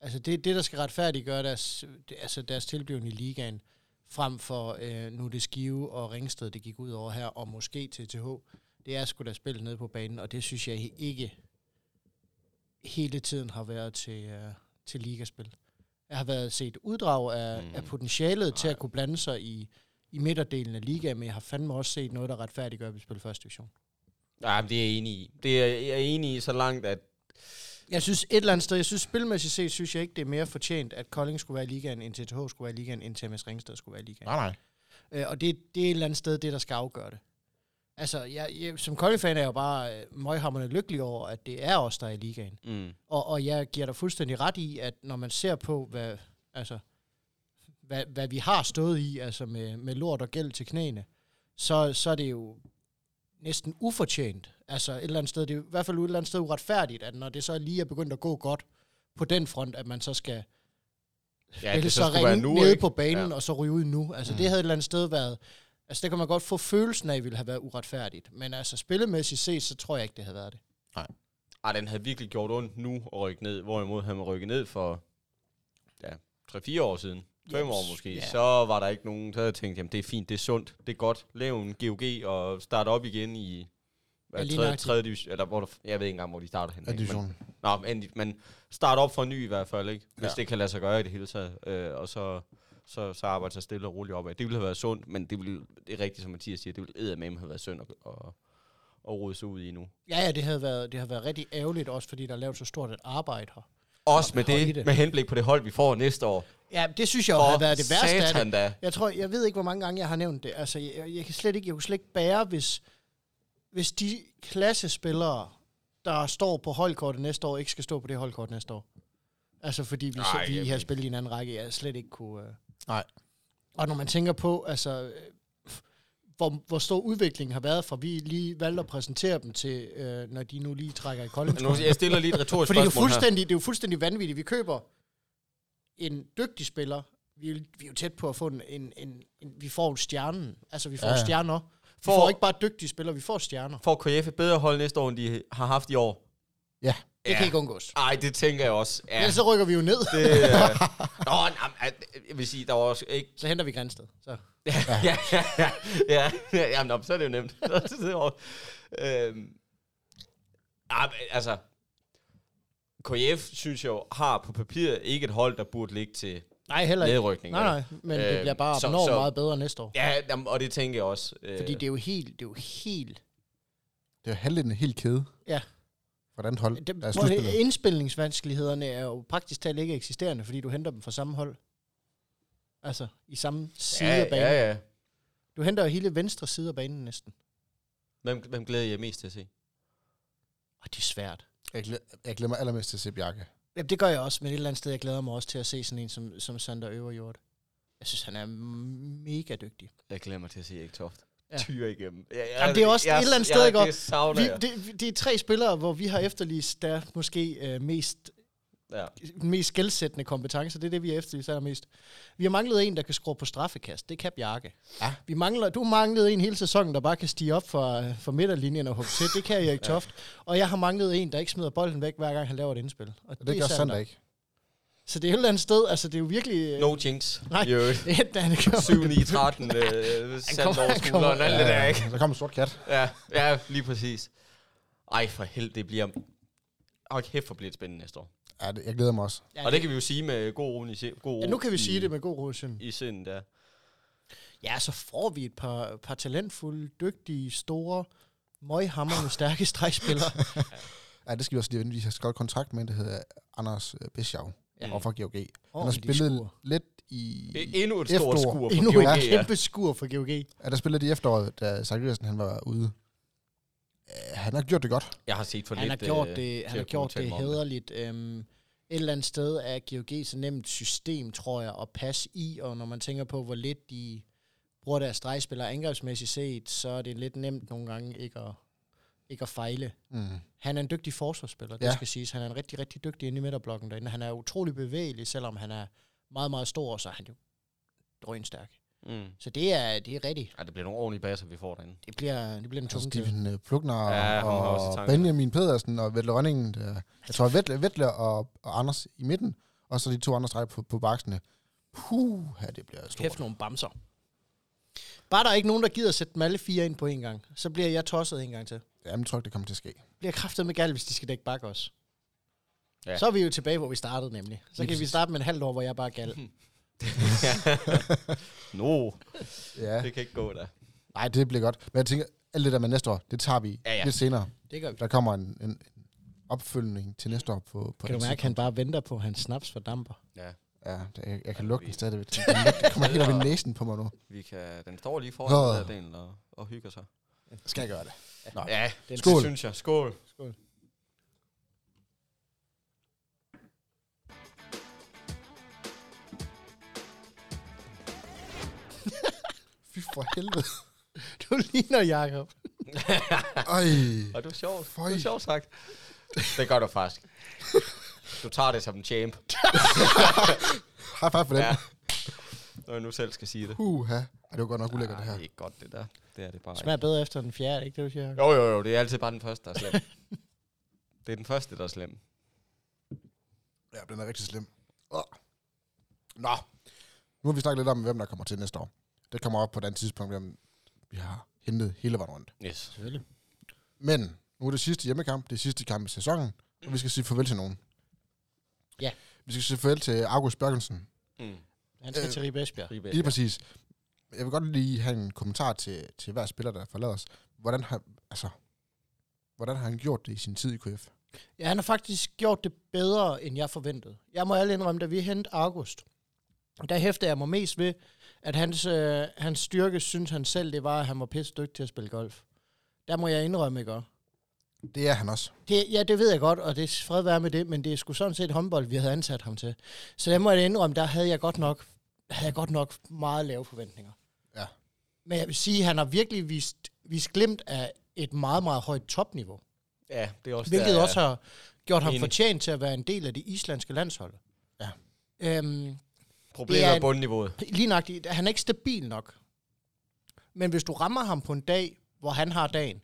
Altså det, det der skal retfærdiggøre deres, det- altså deres tilblivende i ligaen, frem for øh, nu er det Skive og Ringsted, det gik ud over her, og måske TTH, det er sgu da spillet nede på banen, og det synes jeg he- ikke hele tiden har været til, øh, til ligaspil. Jeg har været set uddrag af, mm. Mm. af potentialet til Nej. at kunne blande sig i, i midterdelen af ligaen, men jeg har fandme også set noget, der retfærdiggør, at vi spiller første division. Nej, men det er jeg enig i. Det er jeg er enig i så langt, at Jeg synes et eller andet sted, jeg synes spilmæssigt set, synes jeg ikke, det er mere fortjent, at Kolding skulle være i ligaen, end TTH skulle være i ligaen, end TMS Ringsted skulle være i ligaen. nej, nej. Øh, og det, det er et eller andet sted, det der skal afgøre det. Altså, jeg, jeg, som Kolding-fan er jeg jo bare øh, møghamrende lykkelig over, at det er os, der er i ligaen. mm. Og, og jeg giver dig fuldstændig ret i, at når man ser på, hvad, altså, hvad, hvad vi har stået i, altså med, med lort og gæld til knæene, så, så er det jo næsten ufortjent. Altså et eller andet sted, det er i hvert fald et eller andet sted uretfærdigt, at når det så lige er begyndt at gå godt på den front, at man så skal ja, ja, det det så så skulle være ringe nu, nede ikke? på banen Ja. ja. og så ryge ud nu. Altså mm. det Mm. havde et eller andet sted været... Altså der kan man godt få følelsen af, at det ville have været uretfærdigt. Men altså spillemæssigt set, så tror jeg ikke, det havde været det. Ej, den havde virkelig gjort ondt nu at rykke ned, hvorimod han rykket ned for ja, 3-4 år siden. 5 Yes, år måske. ja. Så var der ikke nogen, så havde jeg tænkt, jamen det er fint, det er sundt, det er godt. Lav en GOG og start op igen i hvad, Ja, lige tredje, nøjagtigt. tredje division, eller hvor du, jeg ved ikke engang, hvor de starter henne. Er ikke? Men- divisionen. Nå, men, endelig- men start op fra ny i hvert fald, ikke? Hvis ja. Ja. det kan lade sig gøre i det hele taget. Øh, og så, så, så arbejde sig stille og roligt opad. Det ville have været sundt, men det, ville, det er rigtigt, som Mathias siger, det ville eddermame have været synd at, at, at rode sig ud i nu. Ja, ja, det havde været, det havde været rigtig ærgerligt, også fordi der er lavet så stort et arbejde her. Også med Hold i det, det. med henblik på det hold, vi får næste år. Ja, det synes jeg jo havde været det værste af det. satan da. Jeg tror, jeg ved ikke, hvor mange gange jeg har nævnt det. Altså, jeg, jeg kan slet ikke, jeg kunne slet ikke bære, hvis, hvis de klassespillere, der står på holdkortet næste år, ikke skal stå på det holdkort næste år. Altså, fordi vi, Ej, Ej, vi jeg har ved- spillet i en anden række, jeg slet ikke kunne... Øh. Nej. Og når man tænker på, altså, øh, hvor, hvor stor udviklingen har været, fra vi lige valgte at præsentere dem til, øh, når de nu lige trækker i kolden. Nu, jeg stiller lige et retorisk Fordi det er, jo spørgsmål her. fuldstændig, det er jo fuldstændig vanvittigt. Vi køber en dygtig spiller. Vi er, jo- vi er jo tæt på at få en, en, en, en vi får jo stjernen. Altså, vi får Ja, ja, ja. stjerner. Vi For- for... får ikke bare dygtige spillere, vi får stjerner. Får KF et bedre hold næste år, end de har haft i år? Ja. Det ja. kan ikke undgås. Ej, det tænker jeg også. Ja. Ja, Ellers så rykker vi jo ned. det, øh... Nå, nej, men, jeg vil sige, der var også ikke Så henter vi Grænsted. Så. ja, ja, ja, ja, ja, jamen, nå, så er det jo nemt. Så sidder jeg over. øhm, ah, men, altså, KF, synes jeg jo, har på papiret ikke et hold, der burde ligge til Nej, heller ikke. nedrykning. Nej, vel? nej. Men øh, det Øh, bliver bare så- enormt så- meget bedre næste år. Ja. Ja, jamen, og det tænker jeg også. Øh, Fordi det er jo helt... Det er jo helt Det er jo halvdelen af en hel kæde. Ja. Hvordan hold, det, der er prøv at høre, slutspillet. indspilningsvanskelighederne er jo praktisk talt ikke eksisterende, fordi du henter dem fra samme hold. Altså, i samme side ja, af banen. ja, ja. Du henter jo hele venstre side af banen næsten. Hvem, hvem glæder jeg mest til at se? Og det er svært. Jeg, glæder, jeg glemmer allermest til Sepp Jakke. Jamen, det gør jeg også, men et eller andet sted, jeg glæder mig også til at se sådan en som, som Sander Øverjord. Jeg synes, han er mega dygtig. Jeg glæder mig til at se Erik Toft. Ja. Ja. Tyre igennem. Ja, ja, Jamen, det er også et eller andet sted, ikke? ja, det savner Vi, jeg. det, vi- det er tre spillere, hvor vi har efterlyst der måske øh, mest, Ja. mest skældsættende kompetencer. Det er det, vi har efterlyst allermest. Vi har manglet en, der kan skrue på straffekast. Det kan Bjarke. Ja. Vi mangler, du manglede en hele sæsonen, der bare kan stige op fra, fra midterlinjen og hoppe til. Det kan Erik Toft. Og jeg har manglet en, der ikke smider bolden væk, hver gang han laver et indspil. Og Og det, det gør Sander ikke. Så det er et eller andet sted, altså det er jo virkelig... No jinx. Nej. I øvrigt. Det er, han gør. 7, 9, 13. Øh, sat kommer- over han kommer- skulderen. Alt det der, ikke? Øh, Der kom en sort kat. Ja, ja, lige præcis. Ej, for helvede, det bliver... Og kæft, hvor bliver det spændende næste år. Ja, det, jeg glæder mig også. Ja, Og det kan vi jo sige med god ro i se- god ja, nu ro kan vi i, sige det med god rosen. I sind, der. Ja, så får vi et par, par talentfulde, dygtige, store, møghamrende, stærke stregspillere. Ja, det skal vi også lige vende. Vi har skrevet kontrakt med en, der hedder Anders øh, Bischoff Ja. Mm. ja. fra GOG. Han har Ordentlige spillet skruer. lidt i... Det er E- endnu et stort Efterår. skur på Endnu et GOG. Ja. kæmpe skur for GOG. Ja, der spillede de i efteråret, da Zachariasen han var ude. Øh, han har gjort det godt. Jeg har set for Han har lidt... gjort øh, det, til han har at gjort kunne tale det mig om hederligt. Øhm, et eller andet sted er GOG så nemt system, tror jeg, at passe i, og når man tænker på, hvor lidt de bruger deres stregspillere angrebsmæssigt set, så er det lidt nemt nogle gange ikke at, ikke at fejle. Mm. Han er en dygtig forsvarsspiller, det Ja. ja. skal siges. Han er en rigtig, rigtig dygtig inde i midterblokken derinde. Han er utrolig bevægelig, selvom han er meget, meget stor, og så er han jo drønstærk. Mm. Så det er, det er rigtigt. Ja, det bliver nogle ordentlige baser, vi får derinde. Det bliver, det bliver en Så tunge tid. Steven øh, Plukner Ja, ja, ham har jeg også i og, og tankerne. Benjamin Pedersen og Vettle Rønningen. Der. Jeg tror, Vettle, Vettle og, og Anders i midten, og så de to andre streger på, på baksene. Puh, ja, det bliver stort. Kæft nogle bamser. Bare der er ikke nogen, der gider at sætte dem alle fire ind på en gang, så bliver jeg tosset en gang til. Jamen, jeg tror ikke, det kommer til at ske. Bliver kraftet med galt, hvis de skal dække bakke også. Ja. Ja. Så er vi jo tilbage, hvor vi startede nemlig. Så Lige kan vi præcis. starte med en halvt år, hvor jeg bare er gal. no, Ja, det kan ikke gå da. nej, det bliver godt. Men jeg tænker, alt det der med næste år, det tager vi Ja, ja, ja. ja. lidt senere. Det gør vi. Der kommer en, en, en opfølgning til næste år på, på Kan det du mærke, at han bare venter på, at hans snaps fordamper? Ja, Ja, det- jeg, jeg kan Ja, lugte vi- den stadigvæk. Den lugter- Det kommer helt op i næsen på mig nu. vi kan, den står lige foran den der del og, og hygger sig. Skal jeg gøre det? Ja, Den Skål. det synes jeg. Skål. Skål. Fy for helvede. Du ligner Jacob. Ej. Og det var sjovt. Føj. Det var sjovt sagt. Det gør du faktisk. Du tager det som en champ, High five for den. Ja. når jeg nu selv skal sige det. Puha. Ej, det var godt nok ulækkert, det Ej, her. det er ikke godt, det der. Det er det bare Smager bedre efter den fjerde, ikke det, du siger? Jacob? Jo, jo, jo. Det er altid bare den første, der er slem. det er den første, der er slem. Ja, den er rigtig slem. Åh. Nå. Nu har vi snakket lidt om, hvem der kommer til næste år. Det kommer op på et andet tidspunkt, hvem vi har hentet hele vejen rundt. Yes. Selvfølgelig. Men nu er det sidste hjemmekamp, det er sidste kamp i sæsonen, og vi skal sige farvel til nogen. Ja. Vi skal sige farvel til August Bergensen, Mm. Han skal Øh, til Ribe Esbjerg. Lige præcis. Jeg vil godt lige have en kommentar til, til hver spiller, der forlader os. Hvordan har, altså, hvordan har han gjort det i sin tid i KF? Ja, han har faktisk gjort det bedre, end jeg forventede. Jeg må alle indrømme, da vi hentede August, der hæftede jeg mig mest ved, at hans, øh, hans styrke, synes han selv, det var, at han var pisse dygtig til at spille golf. Der må jeg indrømme, ikke også? Det er han også. det, Ja, det ved jeg godt, og det er fred være med det, men det er sgu sådan set håndbold, vi havde ansat ham til. Så der må jeg indrømme, der havde jeg godt nok, havde jeg godt nok meget lave forventninger. Ja. Men jeg vil sige, at han har virkelig vist, vist glimt af et meget, meget højt topniveau. Ja, det er også Hvilket der, også har gjort ham Enig. fortjent til at være en del af det islandske landshold. Ja. Øhm, Problemet det er er en- bundniveauet. lige nøjagtigt, han er ikke stabil nok. Men hvis du rammer ham på en dag, hvor han har dagen,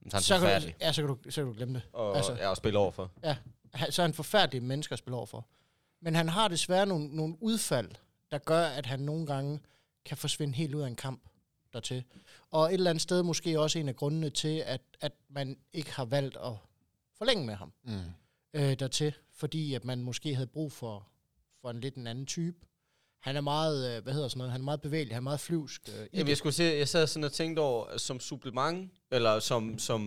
Men så er han så kan, du, forfærdelig. ja, så, kan du, så kan du glemme det. Og, altså. altså. Ja, og spille overfor. Han- Så er han forfærdelig menneske at spille overfor. Men han har desværre nogle, nogle udfald, der gør, at han nogle gange kan forsvinde helt ud af en kamp dertil. Og et eller andet sted måske også en af grundene til, at, at man ikke har valgt at forlænge med ham. Mm. øh, dertil, fordi at man måske havde brug for, for en lidt en anden type. Han er meget, øh, hvad hedder sådan noget, han er meget bevægelig, han er meget flyvsk. Øh, i Jamen, det. jeg, skulle se, jeg sad sådan og tænkte over, som supplement, eller som, som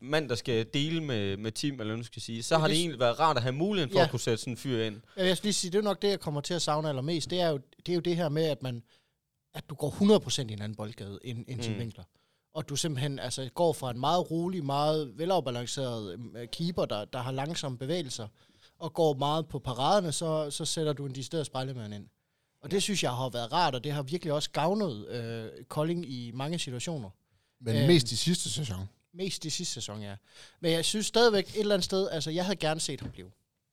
mand, der skal dele med, med team, eller hvad man skal sige, så Ja, har det det- egentlig været rart at have muligheden for ja. Ja. at kunne sætte sådan en fyr ind. Jeg vil lige sige, det er jo nok det, jeg kommer til at savne allermest. Det er jo det, er jo det her med, at, man, at du går 100% i en anden boldgade end, end Mm. mm. vinkler. Og du simpelthen altså, går fra en meget rolig, meget velafbalanceret øh, keeper, der, der har langsomme bevægelser, og går meget på paraderne, så, så sætter du en decideret spejlemand ind. Og det synes jeg har været rart, og det har virkelig også gavnet øh, Kolding i mange situationer. Men Øhm. mest i sidste sæson. Mest i sidste sæson, ja. Men jeg synes stadigvæk et eller andet sted, altså jeg havde gerne set ham blive.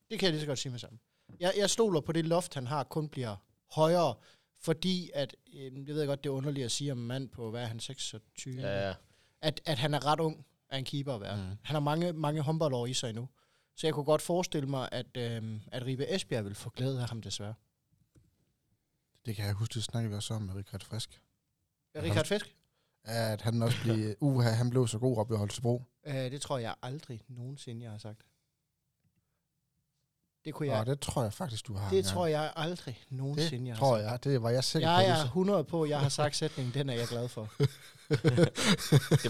Det kan jeg lige så godt sige med sammen. Jeg, jeg stoler på det loft, han har, kun bliver højere, fordi at, øh, det ved jeg godt, det er underligt at sige om en mand på, hvad er han, 26? Ja, At, at han er ret ung af en keeper at være. Mm. Mm. Han har mange, mange håndboldår i sig endnu. Så jeg kunne godt forestille mig, at, øh, at Ribe Esbjerg vil få glæde af ham desværre. Det kan jeg huske, det snakkede vi også om med Richard Frisk. Ja, Richard Fisk? At han også blev, uha, han blev så god op ved Holstebro. Øh, det tror jeg aldrig nogensinde, jeg har sagt. Det kunne jeg. Ja. Og det tror jeg faktisk, du har. Det tror jeg altså. aldrig nogensinde, det jeg har tror sagt. jeg. Det var jeg sikker Jeg på. er 100 på, jeg har sagt sætningen, den er jeg glad for. det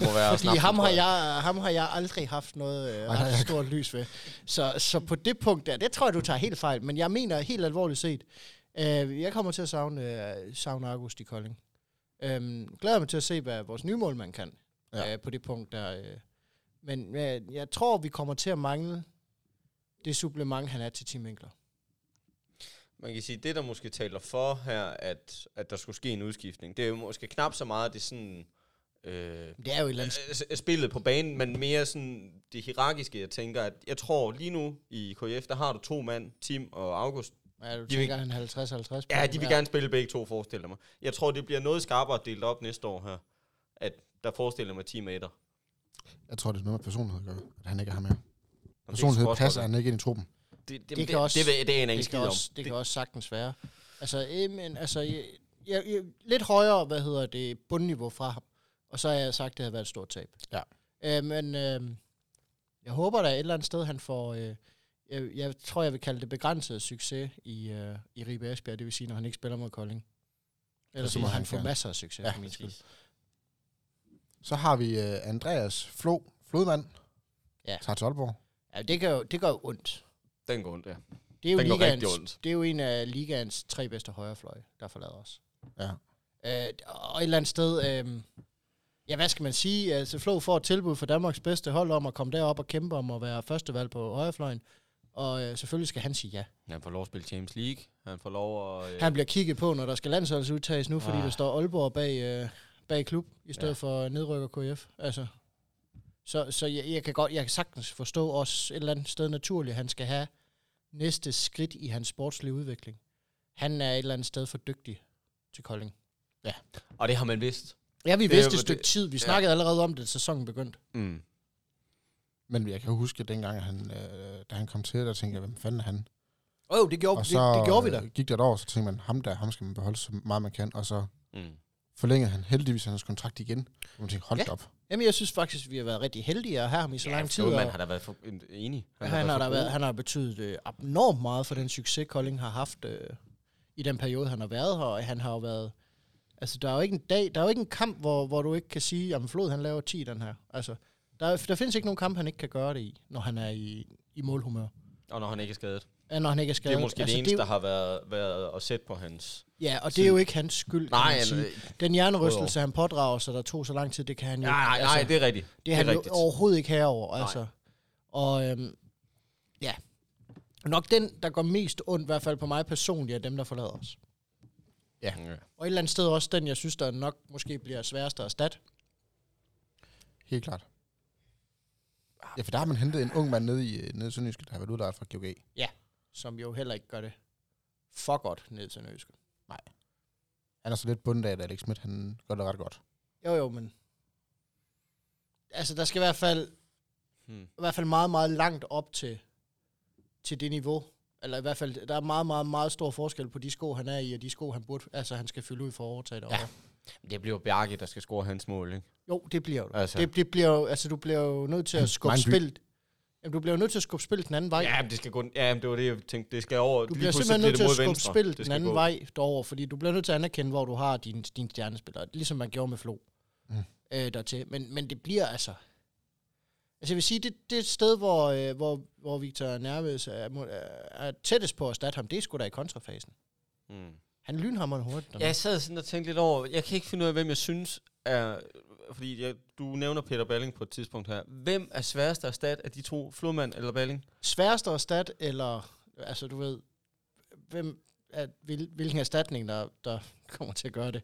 må være Fordi snapsen, ham tror har, jeg, ham har jeg aldrig haft noget øh, Ej, nej, ret jeg- stort lys ved. Så, så på det punkt der, det tror jeg, du tager helt fejl. Men jeg mener helt alvorligt set, Øh, jeg kommer til at savne, øh, savne August i Kolding. Øh, glæder mig til at se, hvad vores nye målmand kan Ja. ja. øh, på det punkt der. Øh. Men øh, jeg tror, vi kommer til at mangle det supplement, han er til Tim Winkler. Man kan sige, det der måske taler for her, at, at der skulle ske en udskiftning, det er jo måske knap så meget det sådan... Øh, Det er jo et eller andet s- s- spillet på banen, men mere sådan det hierarkiske, jeg tænker, at jeg tror lige nu i KF, der har du to mand, Tim og August. Ja, du vil- tænker, han er 50-50 Ja, de vil gerne spille begge to, forestiller jeg mig. Jeg tror, det bliver noget skarpere delt op næste år her, at der forestiller jeg mig Tim etter. Jeg tror, det er noget med personlighed at gøre, at han ikke er her mere. Personlighed passer han ikke ind i truppen. Det, det, det, Det kan det, også- det, ved- det er en Det, ingen det, skid kan, om. også, det kan også sagtens være. Altså, øh, men, altså jeg, jeg, jeg, lidt højere, hvad hedder det, bundniveau fra ham. Og så har jeg sagt, at det havde været et stort tab. Ja. Øh, men øh, jeg håber da et eller andet sted, han får... Øh, jeg, jeg tror, jeg vil kalde det begrænset succes i, øh, i Ribe Esbjerg. Det vil sige, når han ikke spiller mod Kolding. Eller Så så må må han han få gerne. masser af succes, Ja, ja, for min skyld. Præcis. Så har vi øh, Andreas Flo, Flodmand. Ja. Tager til Aalborg. Ja, det gør, jo- det gør jo ondt. Den går ondt, ja. Det er jo, Den går rigtig ligaens, ondt. det er jo en af ligaens tre bedste højrefløje, der forlader os. Ja. Øh, og et eller andet sted, øh, ja, hvad skal man sige? Altså, Flo får et tilbud fra Danmarks bedste hold om at komme derop og kæmpe om at være førstevalg på højrefløjen. Og øh, selvfølgelig skal han sige ja. Han får lov at spille James League. Han får lov at... Øh, Han bliver kigget på, når der skal landsholdsudtages nu, fordi Ah. der står Aalborg bag, øh, bag klub, i stedet Ja. ja. for øh, nedrykker KF. Altså, så så jeg, jeg, kan godt, jeg kan sagtens forstå også et eller andet sted naturligt, at han skal have næste skridt i hans sportslige udvikling. Han er et eller andet sted for dygtig til Kolding. og det har man vidst. Ja, vi Det det er vidste jo- et stykke det- tid. Vi ja. snakkede allerede om det, da sæsonen begyndte. Mm. Men jeg kan huske, at dengang, han, øh, da han kom til, der tænkte jeg, hvem fanden er han? Åh, oh, det, gjorde, og så, det, det gjorde vi øh, da. gik der et år, så tænkte man, ham der, ham skal man beholde så meget man kan. Og så Mm. forlængede han heldigvis hans kontrakt igen. Og man tænkte, hold Ja. da op. Jamen, jeg synes faktisk, vi har været rigtig heldige at have ham i så lang tid. Man Og Altså, har da været for, en- enig. han, har for da god. været, han har betydet øh, abnormt meget for den succes, Kolding har haft øh, i den periode, han har været her. Og han har jo været... Altså, der er jo ikke en dag, der er jo ikke en kamp, hvor, hvor du ikke kan sige, at Flod, han laver 10 i den her. Altså, der, der findes ikke nogen kamp, han ikke kan gøre det i, når han er i, i målhumør. Og når han ikke er skadet. Ja, når han ikke er Det skadet. er måske altså, altså, det eneste, er der jo, har været, været at sætte på hans... Ja, og det er jo ikke hans skyld, kan Nej, man sige. nej, Den hjernerystelse, han pådrager sig, der tog så lang tid, det kan han jo Altså, nej, nej, nej, det er rigtigt. Det er han det er jo rigtigt. overhovedet ikke herover, Nej. altså. Og øhm, ja, nok den, der går mest ondt, i hvert fald på mig personligt, er dem, der forlader os. Ja. Og et eller andet sted også den, jeg synes, der nok måske bliver sværest at erstatte. Helt klart. Ja, for der har man hentet en ung mand nede i, øh, nede i Sønderjyske, der har været udlejet fra GOG. Som jo heller ikke gør det for godt ned til Nøske. Han er så lidt bundet af, at Alex Schmidt, han gør det ret godt. Jo, jo, men... Altså, der skal i hvert fald, Hmm. i hvert fald meget, meget langt op til, til det niveau. Eller i hvert fald, der er meget, meget, meget stor forskel på de sko, han er i, og de sko, han burde... Altså, han skal fylde ud for at overtage det Ja. over. Det bliver jo Bjarke, der skal score hans mål, ikke? Jo, det bliver du. Altså. Altså. Det, det bliver jo, altså, du bliver jo nødt til at skubbe Mind you. spillet. Jamen, du bliver jo nødt til at skubbe spillet den anden vej. Ja, men det skal gå... Ja, men det var det, jeg tænkte. Det skal over... du lige bliver pludselig simpelthen bliver nødt til det at mod skubbe venstre. spillet Det den skal anden gå. vej derover, fordi du bliver nødt til at anerkende, hvor du har dine din stjernespillere, ligesom man gjorde med Flo Mm. mm. øh, dertil. Men, men det bliver altså... Altså jeg vil sige, det, det er et sted, hvor, øh, hvor, hvor Victor Nerves er, må- er- er tættest på at erstatte ham, det er sgu da i kontrafasen. Mm. Han lynhammer hurtigt. dernede. Jeg sad sådan og tænkte lidt over, jeg kan ikke finde ud af, hvem jeg synes er, fordi jeg, du nævner Peter Balling på et tidspunkt her. Hvem er sværest at erstatte af de to, Flormand eller Balling? sværest at erstatte, eller altså du ved, hvem, at, hvil, hvilken erstatning, der, der kommer til at gøre det.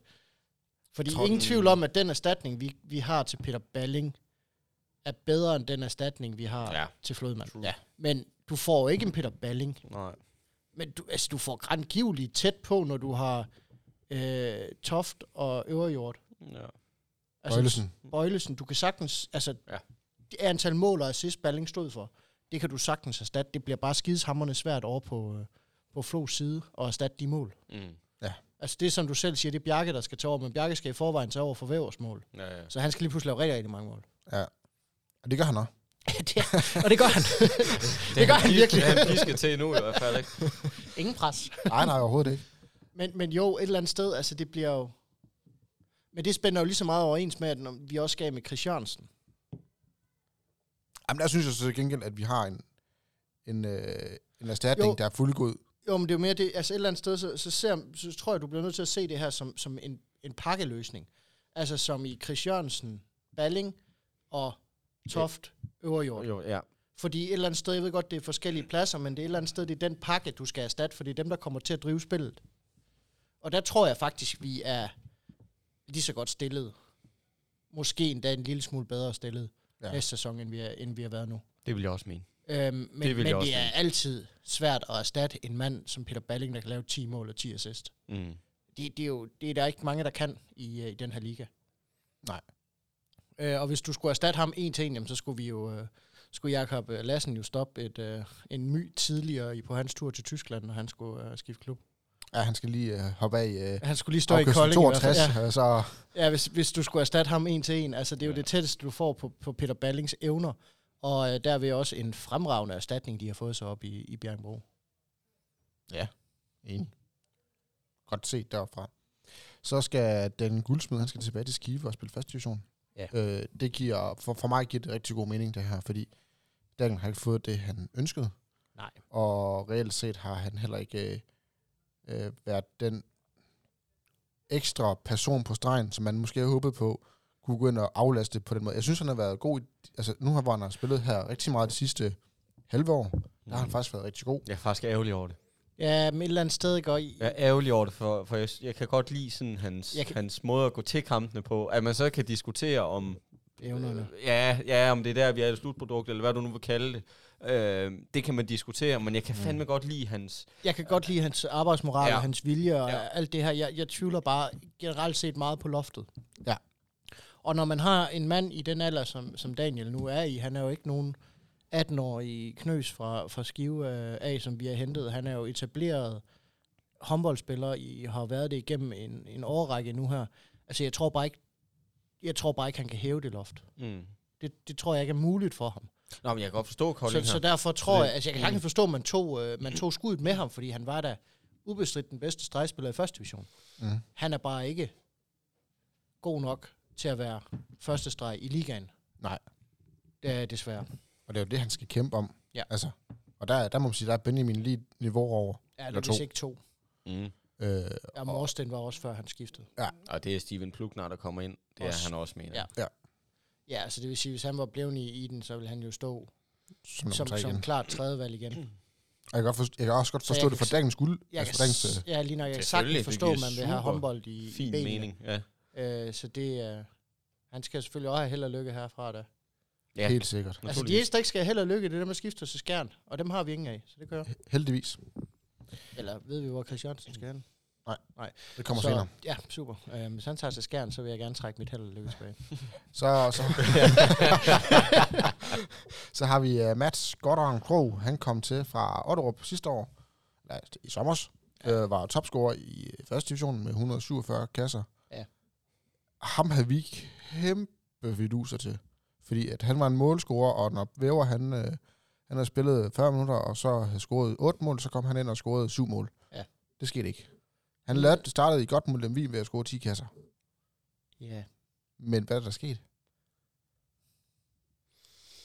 Fordi Tror Tror, ingen den- tvivl om, at den erstatning, vi, vi har til Peter Balling, er bedre end den erstatning, vi har ja. til Flodmand. True. Ja. Men du får jo ikke en Peter Balling. Nej. Men du, altså, du får grandgiveligt tæt på, når du har øh, Toft og Øverjord. Ja. Altså, Bøjlesen. Bøjlesen, du kan sagtens, altså, Ja. ja. det antal mål og assist, Balling stod for, det kan du sagtens erstatte. Det bliver bare skideshammerne svært over på, øh, på Flos side at erstatte de mål. Mm. Altså det, som du selv siger, det er Bjarke, der skal tage over, men Bjarke skal i forvejen tage over for Vævers mål. Ja, ja. Så han skal lige pludselig lave rigtig, rigtig mange mål. Og det gør han også. det, og det gør han. Det gør han virkelig. Det er han pisket til nu i hvert fald, ikke? Ingen pres. Nej, nej, overhovedet ikke. Men, men jo, et eller andet sted, altså det bliver jo... Men det spænder jo lige så meget overens med, at når vi også skal af med Chris Jørgensen. Jamen, der synes jeg så til gengæld, at vi har en, en, øh, en erstatning, Jo. der er fuldgod. Jo, men det er jo mere det, altså et eller andet sted, så, så, ser, så tror jeg, du bliver nødt til at se det her som, som en, en pakkeløsning. Altså som i Chris Jørgensen, Balling og Toft Øverjord. Jo, ja. Fordi et eller andet sted, jeg ved godt, det er forskellige pladser, men det er et eller andet sted, det er den pakke, du skal erstatte, for det er dem, der kommer til at drive spillet. Og der tror jeg faktisk, vi er lige så godt stillet. Måske endda en lille smule bedre stillet Ja. ja. næste sæson, end vi, er, end vi har været nu. Det vil jeg også mene. Øhm, men vil det, jeg men det også er mene. altid svært at erstatte en mand som Peter Balling, der kan lave 10 mål og 10 assist. Mm. Det, det, er jo, det er der ikke mange, der kan i, øh, i den her liga. Nej. Øh, og hvis du skulle erstatte ham en til en, jamen, så skulle vi jo... Øh, skulle Jakob øh, Lassen jo stoppe et, øh, en my tidligere i, på hans tur til Tyskland, når han skulle øh, skifte klub. Ja, han skal lige øh, hoppe af øh, Han skulle lige stå i afkørsel Kolding. i hvert fald. 62, ja. så Ja, ja hvis, hvis du skulle erstatte ham en til en. Altså, det er jo Ja. ja. det tætteste, du får på, på Peter Ballings evner. Og øh, derved også en fremragende erstatning, de har fået sig op i, i Bjergbro. Enig. Godt set derfra. Så skal den guldsmed, han skal tilbage til Skive og spille første division. Ja. Øh, det giver, for, for mig giver det rigtig god mening, det her, fordi Daniel har ikke fået det, han ønskede. Nej. Og reelt set har han heller ikke øh, øh, været den ekstra person på stregen, som man måske havde håbet på, kunne gå ind og aflaste på den måde. Jeg synes, han har været god. I, altså, nu har hvor han har spillet her rigtig meget de sidste halve år. Der Mm. har han faktisk været rigtig god. Jeg er faktisk ærgerlig over det. Ja, men et eller andet sted går i. Jeg er ærgerlig over det, for, for jeg, jeg kan godt lide sådan hans, Jeg kan- hans måde at gå til kampene på. At man så kan diskutere om... Evnerne. Øh, ja, ja, om det er der, vi er i det slutprodukt, eller hvad du nu vil kalde det. Øh, det kan man diskutere, men jeg Mm. kan fandme godt lide hans... Jeg kan godt lide hans arbejdsmoral Ja. ja. og hans vilje og Ja. ja. alt det her. Jeg, jeg tvivler bare generelt set meget på loftet. Ja. Og når man har en mand i den alder, som, som Daniel nu er i, han er jo ikke nogen 18-årig knøs fra, fra Skive øh, af, som vi har hentet. Han er jo etableret håndboldspiller, I har været det igennem en, en årrække nu her. Altså, jeg tror bare ikke, jeg tror bare ikke, han kan hæve det loft. Mm. Det, det tror jeg ikke er muligt for ham. Nå, men jeg kan godt forstå Så, Kolding her. så derfor tror det- jeg, altså jeg kan sagtens forstå, at man tog, øh, man tog skuddet med ham, fordi han var da ubestridt den bedste stregspiller i første division. Mm. Han er bare ikke god nok til at være første streg i ligaen. Nej. Det er desværre. Og det er jo det, han skal kæmpe om. Ja. Altså, og der, der må man sige, der er Benjamin lige et niveau over. Ja, det Eller er vist to. ikke to. Mm. Øh, Ja, Morsten var også før han skiftede. Og det er Steven Plukner, der kommer ind. Det er Også. han også, mener. jeg. Ja. Ja, altså det vil sige, hvis han var blevet i, i den, så ville han jo stå som, som, som, igen. som klart tredjevalg igen. Mm. Og jeg, kan godt forstå, jeg kan også godt Så jeg forstå det kan for s- Dagens guld. Jeg altså kan, for Dagens, s- ja, lige når jeg kan Selvfølgelig, sagtens det forstå, giver man vil have super håndbold i, Fin i benene. mening, ja. Øh, så det, øh, han skal selvfølgelig også have held og lykke herfra da. ja. ja. helt sikkert. Altså, de Naturligvis. eneste, der ikke skal have held og lykke, det er dem, der skifter til skærn. Og dem har vi ingen af, så det gør. Heldigvis. Eller ved vi, hvor Christiansen skal hen? Det kommer så. så, senere. Ja, super. Øhm, hvis han tager til skærn, så vil jeg gerne trække mit held og lykke tilbage. Så, så, så har vi uh, Mats Godderen Krog. Han kom til fra Otterup sidste år. Nej, i sommer. Øh, var topscorer i øh, første division med 147 kasser. Ja. Ham havde vi kæmpe viduser til. Fordi at han var en målscorer, og når Væver han, øh, han havde spillet 40 minutter, og så havde scoret 8 mål, så kom han ind og scorede 7 mål. Ja. Mm. Det skete ikke. Han lavede, startede i godt mod Lemvig ved at score 10 kasser. Ja. Men hvad er der sket?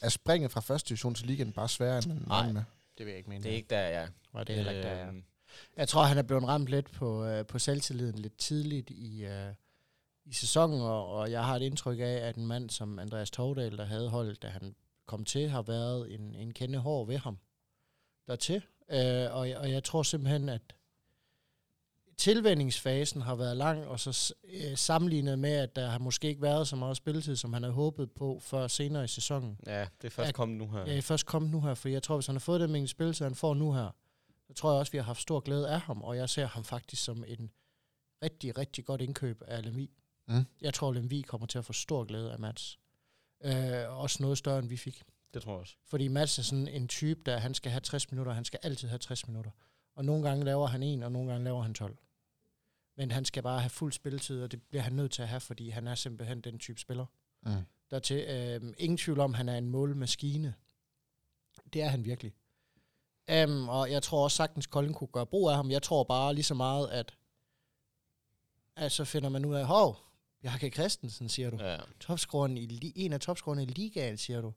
Er springet fra første division til ligaen bare sværere, end man Nej. regner med? Det vil jeg ikke mene. Det er ikke der, ja. Nej, det øh, er heller ikke der, ja. Øhm, Jeg tror, han er blevet ramt lidt på, øh, på selvtilliden lidt tidligt i, øh, i sæsonen, og, og jeg har et indtryk af, at en mand som Andreas Tovdal, der havde holdet, da han kom til, har været en, en kende hård ved ham dertil. Øh, og, jeg, og jeg tror simpelthen, at tilvændingsfasen har været lang, og så s- øh, sammenlignet med, at der har måske ikke været så meget spilletid, som han havde håbet på før senere i sæsonen. Ja, det er først Ja, kommet nu her. Ja, først kom nu her, for jeg tror, hvis han har fået den mængde spilletid, han får nu her, så tror jeg også, vi har haft stor glæde af ham, og jeg ser ham faktisk som en rigtig, rigtig godt indkøb af Lemvi. Mm. Jeg tror, Lemvi kommer til at få stor glæde af Mats. Øh, også noget større, end vi fik. Det tror jeg også. Fordi Mats er sådan en type, der han skal have 60 minutter, han skal altid have 60 minutter. Og nogle gange laver han en, og nogle gange laver han 12. Men han skal bare have fuld spilletid, og det bliver han nødt til at have, fordi han er simpelthen den type spiller Mm. dertil. Øh, ingen tvivl om, han er en målmaskine. Det er han virkelig. Um, og jeg tror også sagtens, Kolding kunne gøre brug af ham. Jeg tror bare lige så meget, at, at så finder man ud af, hov, Bjarke Christensen, siger du. Ja. Ja. Topscoren i, li- en af topscorerne i ligaen, siger du.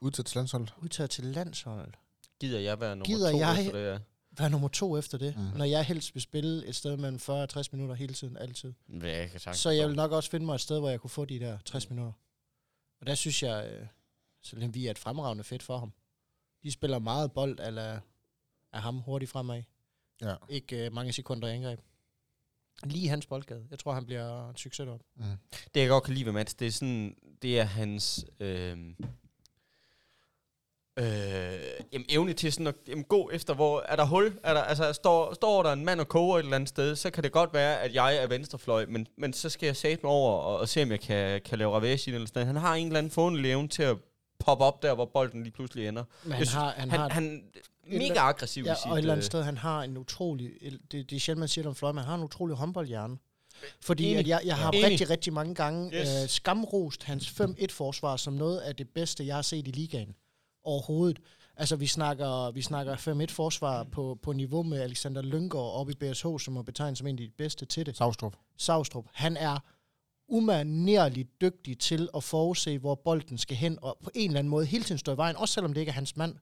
Udtaget til landsholdet. Udtaget til landsholdet. Gider jeg være nummer Gider to jeg? efter det, ja. være nummer to efter det, Mm. mm. når jeg helst vil spille et sted mellem 40 og 60 minutter hele tiden, altid. Ja, jeg kan sagtens Så jeg forstå vil nok også finde mig et sted, hvor jeg kunne få de der 60 minutter. Og der synes jeg, øh, selvom vi er et fremragende fedt for ham. De spiller meget bold eller af ham hurtigt fremad. Ja. Ikke øh, mange sekunder i angreb. Lige hans boldgade. Jeg tror, han bliver en succes op. Mm. Det, jeg godt kan lide ved Mats, det er sådan, det er hans... Øh, Øh, jamen, evne til sådan at jamen, gå efter, hvor er der hul? Er der, altså, står, står der en mand og koger et eller andet sted, så kan det godt være, at jeg er venstrefløj, men, men så skal jeg sætte mig over og, og, se, om jeg kan, kan lave ravage i den eller sådan noget. Han har en eller anden fående evne til at poppe op der, hvor bolden lige pludselig ender. Men han synes, har, han, Han, har han, han er mega aggressiv Ja, i sit... og et eller andet øh, sted, han har en utrolig... Det, det er sjældent, man siger det om Fløj, men han har en utrolig håndboldhjerne. Fordi Enig. at jeg, jeg har Enig. Enig. rigtig, rigtig mange gange Yes. yes. øh, skamrost hans 5-1-forsvar som noget af det bedste, jeg har set i ligaen overhovedet. Altså, vi snakker, vi snakker 5-1-forsvar på, på niveau med Alexander Lyngård oppe i BSH, som må betegnes som en af de bedste til det. Savstrup. Savstrup, han er umanerligt dygtig til at forudse, hvor bolden skal hen, og på en eller anden måde hele tiden stå i vejen, også selvom det ikke er hans mand.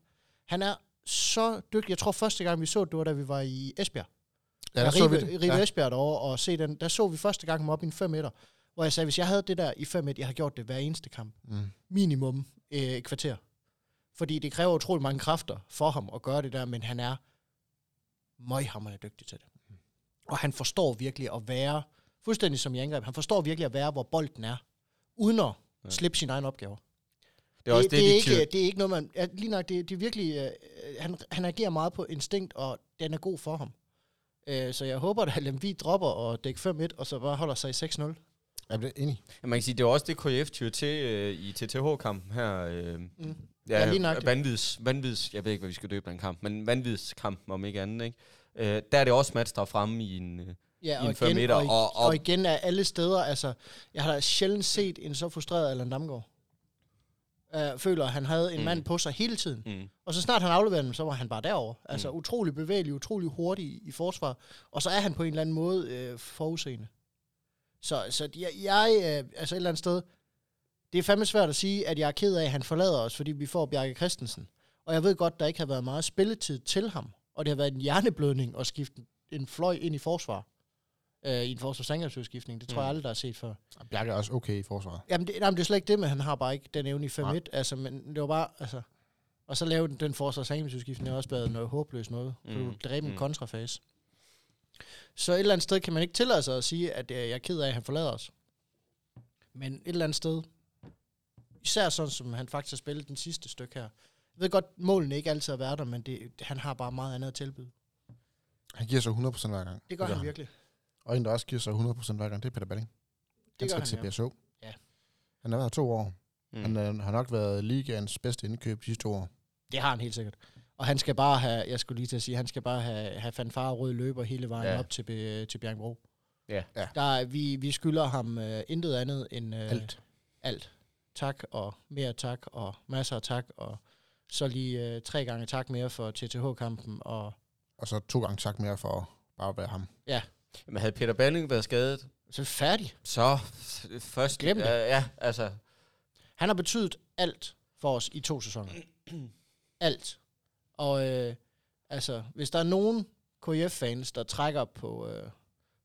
Han er så dygtig. Jeg tror første gang, vi så det, det var da vi var i Esbjerg. Ja, der Ribe, så vi det. Ribe Ja. Esbjerg derovre, og se den, der så vi første gang ham op i en 5 meter, hvor jeg sagde, hvis jeg havde det der i 5 jeg har gjort det hver eneste kamp. Mm. Minimum øh, et kvarter. Fordi det kræver utrolig mange kræfter for ham at gøre det der, men han er møghammerende dygtig til det. Mm. Og han forstår virkelig at være, fuldstændig som i angreb, han forstår virkelig at være, hvor bolden er, uden at Ja. slippe sine egne opgaver. det er også det, det, er de tyr- ikke, det er ikke noget, man... Ja, lige nok, det, det er virkelig... Øh, han, han agerer meget på instinkt, og den er god for ham. Øh, så jeg håber, at Lemvi dropper og dæk 5-1, og så bare holder sig i 6-0. Jeg bliver enig. Ja, man kan sige, det var også det, KF tyrer til øh, i TTH-kampen her. Øh, Mm. ja, Ja, lige ja nøjagtigt. vanvids, vanvids, jeg ved ikke, hvad vi skal døbe den kamp, men vanvidskampen om ikke andet, ikke? Øh, der er det også Mats, der er fremme i en... Øh, Ja, I en og fem igen, meter, og, og, og- og, og- og, igen er alle steder, altså, jeg har da sjældent set en så frustreret Allan Damgaard. Øh, føler, at han havde en Mm. mm. mand på sig hele tiden. mm. Og så snart han afleverede dem, så var han bare derovre. Altså Mm. mm. utrolig bevægelig, utrolig hurtig i, i forsvar. Og så er han på en eller anden måde øh, forudseende. Så, så jeg, jeg øh, altså et eller andet sted, det er fandme svært at sige, at jeg er ked af, at han forlader os, fordi vi får Bjarke Christensen. Og jeg ved godt, der ikke har været meget spilletid til ham. Og det har været en hjerneblødning at skifte en fløj ind i forsvar. Øh, I en forsvarsangrebsudskiftning. Det tror Mm. mm. jeg aldrig, der har set før. Og Bjarke er også okay i forsvaret. Jamen det, jamen, det er slet ikke det, men han har bare ikke den evne i 5-1. Nej. Altså, men det var bare, altså... Og så lavede den, den forsvarsangelsudskiftning også været noget håbløst noget. Mm. Du Mm, dræbe en mm. kontrafase. Så et eller andet sted kan man ikke tillade sig at sige, at øh, jeg er ked af, at han forlader os. Men et eller andet sted, især sådan som han faktisk har spillet den sidste stykke her. Jeg ved godt, målene ikke altid har været der, men det, han har bare meget andet at tilbyde. Han giver sig 100% hver gang. Det gør han virkelig. Og en, der også giver sig 100% hver gang, det er Peter Balling. Han Det gør skal han, til ja. BSO. Ja. Han har været her to år. Mm. Mm. Han øh, har nok været ligaens bedste indkøb de sidste to år. Det har han helt sikkert. Og han skal bare have, jeg skulle lige til at sige, han skal bare have, have fanfare og rød løber hele vejen Ja. ja. op til, Be- til Bjergbro. Ja. Ja. Der, er- vi, vi skylder ham øh, intet andet end øh, Alt. alt. Tak og mere tak og masser af tak og så lige øh, tre gange tak mere for TTH-kampen. Og Og så to gange tak mere for bare at være ham. Men havde Peter Balling været skadet, så er vi færdig. så først... Glem det. Ja, ja, altså... Han har betydet alt for os i to sæsoner. alt. Og øh, altså, hvis der er nogen KF-fans, der trækker på, øh,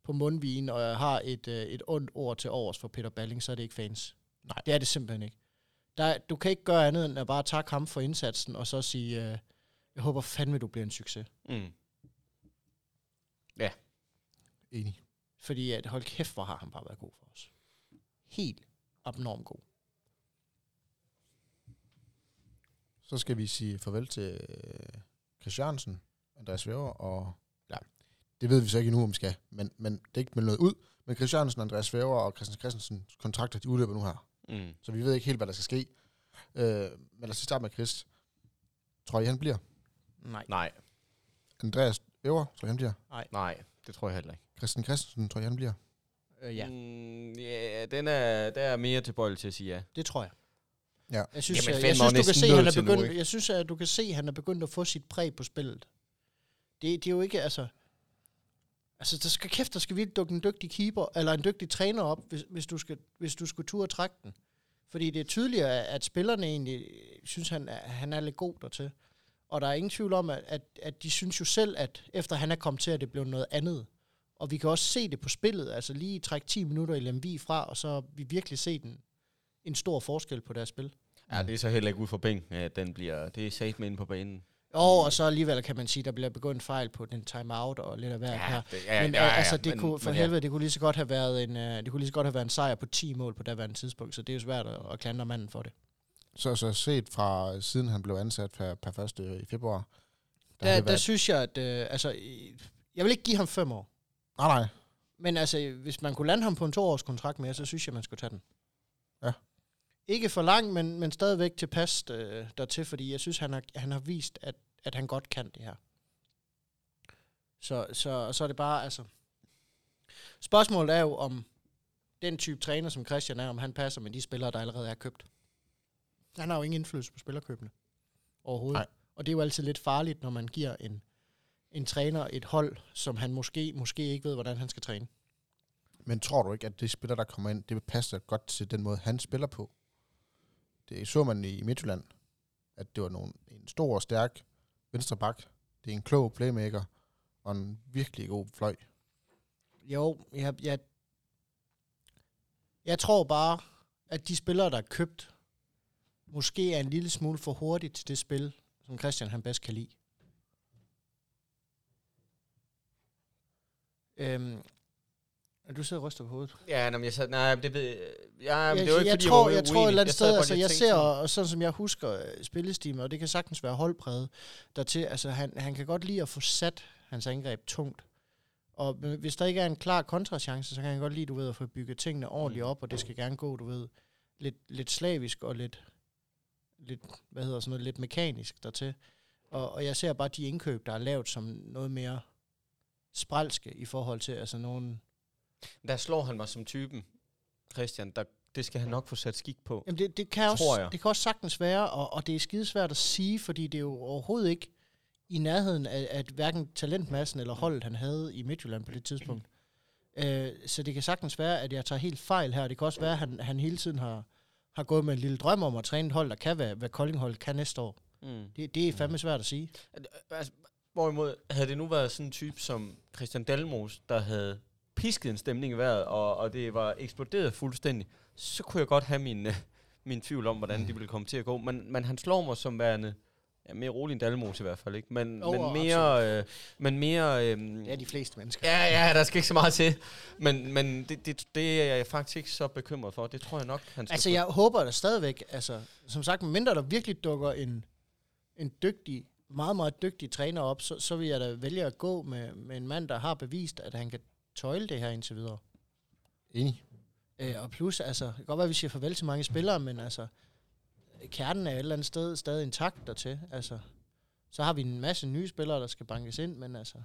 på mundvigen og øh, har et, øh, et ondt ord til overs for Peter Balling, så er det ikke fans. Nej. Det er det simpelthen ikke. Der, du kan ikke gøre andet end at bare takke ham for indsatsen og så sige, øh, jeg håber fandme, du bliver en succes. Mm. Enig. Fordi at, hold kæft, hvor har han bare været god for os. Helt abnorm god. Så skal vi sige farvel til øh, Christiansen, Andreas Væver og... Ja, det ved vi så ikke endnu, om vi skal, men, men det er ikke meldt noget ud. Men Christiansen, Andreas Væver og Christian Christensen kontrakter, de udløber nu her. Mm. Så vi ved ikke helt, hvad der skal ske. Øh, men lad os lige starte med Chris. Tror I, han bliver? Nej. Nej, Andreas Væver, tror I, han bliver? nej, det tror jeg heller ikke. Christian Christensen, tror I, han bliver? Øh, ja, Mm, ja, den er, der er mere til bold til at sige ja. det tror jeg. Ja. Jeg synes, Jamen, jeg, fandme jeg synes, er næsten du kan se, han nødt er til nu, begyndt, ikke? jeg synes, at du kan se, at han er begyndt at få sit præg på spillet. Det, det er jo ikke, altså... Altså, der skal kæft, der skal virkelig dukke en dygtig keeper, eller en dygtig træner op, hvis, hvis, du, skal, hvis du skulle turde trække den. Fordi det er tydeligere, at spillerne egentlig øh, synes, han er, han er lidt god dertil. Og der er ingen tvivl om, at, at, at de synes jo selv, at efter han er kommet til, at det blev noget andet. Og vi kan også se det på spillet, altså lige trække 10 minutter i Lemvi fra, og så har vi virkelig set en, en stor forskel på deres spil. Ja, det er så heller ikke ud for bænken, at den bliver... Det er safe inde på banen. Og, og så alligevel kan man sige, at der bliver begået en fejl på den timeout og lidt af hvert her. det, Ja, men ja, ja, altså, det men- kunne, for men men, helvede, det kunne lige så godt have været en, øh, det kunne lige så godt have været en sejr på 10 mål på daværende tidspunkt, så det er jo svært at, at klandre manden for det. Så, så set fra øh, siden han blev ansat per, per 1. i februar. Der, Der, har der, det været, synes jeg, at øh, altså, i- jeg vil ikke give ham fem år, nej, nej. men altså, hvis man kunne lande ham på en toårs kontrakt mere, så synes jeg, man skulle tage den. Ja. Ikke for lang, men, men stadigvæk tilpas øh, dertil, fordi jeg synes, han har, han har vist, at, at han godt kan det her. Så, så, og så er det bare, altså... Spørgsmålet er jo, om den type træner, som Christian er, om han passer med de spillere, der allerede er købt. Han har jo ingen indflydelse på spillerkøbene overhovedet. Nej. Nej. Og det er jo altid lidt farligt, når man giver en, en træner et hold, som han måske, måske ikke ved, hvordan han skal træne. Men tror du ikke, at de spillere, der kommer ind, det passer godt til den måde, han spiller på? Det så man i Midtjylland, at det var nogle, en stor og stærk venstre bak. Det er en klog playmaker og en virkelig god fløj. Jo, jeg, jeg, jeg tror bare, at de spillere, der er købt, måske er en lille smule for hurtigt til det spil, som Christian han bedst kan lide. Øhm, du sidder og ryster på hovedet. Ja, nå, men jeg sad, nej, men det ved ja, men jeg, det er jo ikke, jeg fordi tror, var jeg tror et eller andet sad sted, bare altså lige og jeg tænkte ser, sådan, og sådan som jeg husker øh, spillestilen, og det kan sagtens være holdpræget dertil, altså han, han kan godt lide at få sat hans angreb tungt. Og øh, hvis der ikke er en klar kontrachance, så kan han godt lide, du ved, at få bygget tingene Mm. ordentligt op, og det skal gerne gå, du ved, lidt, lidt slavisk og lidt, lidt, hvad hedder sådan noget, lidt mekanisk dertil. Og, og jeg ser bare de indkøb, der er lavet som noget mere spralske i forhold til, altså nogen... Der slår han mig som typen, Christian, der, det skal han nok få sat skik på. Jamen det, det, kan også, Tror jeg. det kan også sagtens være, og, og det er skidesvært at sige, fordi det er jo overhovedet ikke i nærheden af at hverken talentmassen eller holdet, han havde i Midtjylland på det tidspunkt. Øh, så det kan sagtens være, at jeg tager helt fejl her. Det kan også være, at han, han hele tiden har, har gået med en lille drøm om at træne et hold, der kan være, hvad Koldinghold kan næste år. Mm. Det, det er fandme svært at sige. Altså, hvorimod, havde det nu været sådan en type som Christian Dalmos, der havde pisket en stemning i vejret, og, og det var eksploderet fuldstændig, så kunne jeg godt have min, øh, min tvivl om, hvordan mm. det ville komme til at gå. Men, men han slår mig som værende ja, mere rolig end Dalmos i hvert fald, ikke? Men, Jo, men og mere... Øh, men mere øh, Ja, de fleste mennesker. Ja, ja, der skal ikke så meget til. Men, men det, det, det er jeg faktisk ikke så bekymret for. Det tror jeg nok, han skal Altså, få. jeg håber da stadigvæk, altså, som sagt, mindre der virkelig dukker en, en dygtig, meget, meget dygtig træner op, så, så vil jeg da vælge at gå med, med en mand, der har bevist, at han kan tøjle det her indtil videre. Enig. Øh, og plus, altså, det kan godt være, at vi siger farvel til mange spillere, men altså, kernen er et eller andet sted stadig intakt dertil. Altså, så har vi en masse nye spillere, der skal bankes ind, men altså,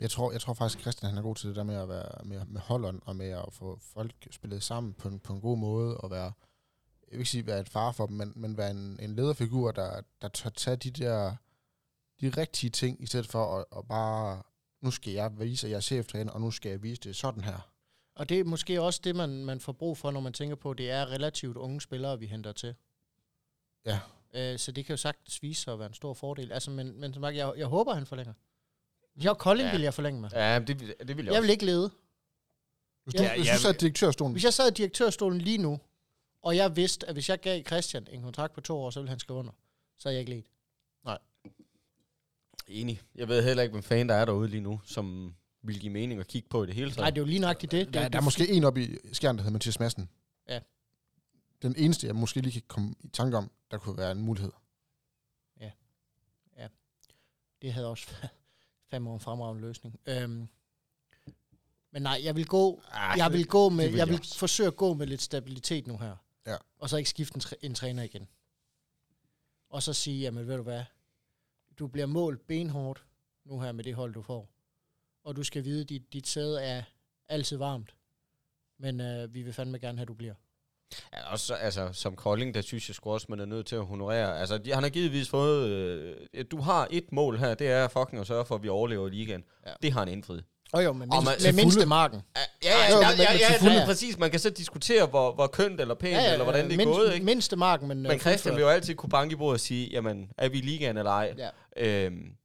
Jeg tror, jeg tror faktisk, at Christian han er god til det der med at være med, med holderen og med at få folk spillet sammen på en, på en god måde og være, jeg vil ikke sige være et far for dem, men, men være en, en lederfigur, der, der tør tage de der de rigtige ting, i stedet for at, at bare, nu skal jeg vise, at jeg er cheftræner, og nu skal jeg vise det sådan her. Og det er måske også det, man, man får brug for, når man tænker på, at det er relativt unge spillere, vi henter til. Ja. Øh, så det kan jo sagtens vise sig at være en stor fordel. Altså, men, men som sagt, jeg, jeg håber, han forlænger. Jeg og Kolding Ja. ja. vil jeg forlænge med. Ja, men det, vil- det vil jeg, Jeg vil ikke lede. Hvis Ja, du, ja, hvis ja, du sad i direktørstolen, Hvis jeg sad i direktørstolen lige nu, og jeg vidste, at hvis jeg gav Christian en kontrakt på to år, så ville han skrive under. Så er jeg ikke ledt. Enig. Jeg ved heller ikke, hvem fanden der er derude lige nu, som vil give mening at kigge på i det hele taget. Nej, det er jo lige nøjagtigt det. det. der, det- der er måske en oppe i skjern, der hedder Mathias Madsen. Ja. Den eneste, jeg måske lige kan komme i tanke om, der kunne være en mulighed. Det havde også været fandme en fremragende løsning. Øhm, men nej, jeg vil gå Ej, jeg vil gå med, det vil jeg jeg vil også. forsøge at gå med lidt stabilitet nu her. Ja. Og så ikke skifte en, træ- en træner igen. Og så sige, jamen ved du hvad, du bliver målt benhårdt nu her med det hold, du får. Og du skal vide, at dit, dit sæde er altid varmt. Men øh, vi vil fandme gerne have, at du bliver. Ja, også, altså, som Kolding, der synes jeg sgu også, man er nødt til at honorere. Altså, de, han har givetvis fået... Øh, du har et mål her, det er fucking at sørge for, at vi overlever i ligaen. Ja. Det har han indfriet. Og jo, men Og mindst, man- med til fulde- mindstemarken. Ja, ja, ja, Jo, ja, men- ja, men til ja, fulde. ja, ja, præcis. Man kan så diskutere, hvor, hvor kønt eller pænt, ja, ja, ja, eller hvordan det er mindst, gået, ikke? Mindstemarken, men... Men øh, Christian fuldført. vil jo altid kunne banke i bordet og sige, jamen, er vi i ligaen eller ej? Ja. Øhm,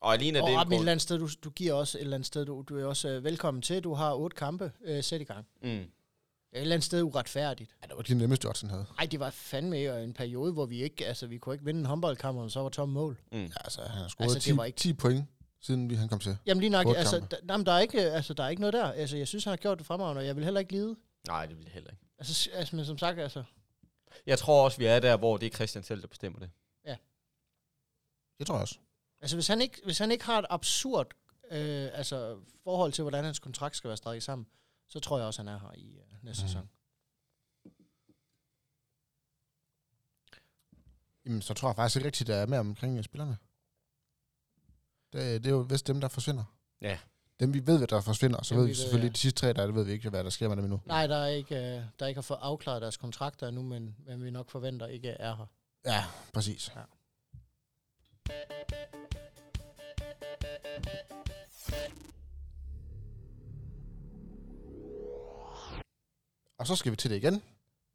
og alene er det Og op et en eller andet sted, du, du giver også et eller andet sted, du, du er også øh, velkommen til. Du har otte kampe, øh, sæt i gang. grund. Mm. Det er Et eller andet sted uretfærdigt. Ja, det var de nemmeste odds, han havde. Nej, det var fandme øh, en periode, hvor vi ikke, altså vi kunne ikke vinde en håndboldkamp, og så var tom mål. Ja, altså, han har scoret Altså, det var altså, 10, ikke- 10 point, siden vi han kom til. Jamen lige nok, Otte altså, kampe. der, jamen, der, er ikke, øh, altså, der er ikke noget der. Altså, jeg synes, han har gjort det fremragende, og jeg vil heller ikke lide. Nej, det vil jeg heller ikke. Altså, s- altså men som sagt, altså, Jeg tror også, vi er der, hvor det er Christian selv, der bestemmer det. Det tror jeg også. altså hvis, han ikke, hvis han ikke har et absurd øh, altså, forhold til, hvordan hans kontrakt skal være strikket sammen, så tror jeg også, han er her i øh, næste Mm. mm. sæson. Jamen, så tror jeg faktisk ikke rigtigt, der er mere omkring øh, spillerne. Det, det er jo vist dem, der forsvinder. Ja. Dem, vi ved, hvad der forsvinder, og så Dem, ved vi vi ved, selvfølgelig, ja. de sidste tre, der det ved vi ikke, hvad der sker med dem endnu. Nej, der er ikke, øh, der ikke har fået afklaret deres kontrakter endnu, men, men vi nok forventer ikke er her. Ja, præcis. Ja. Og så skal vi til det igen.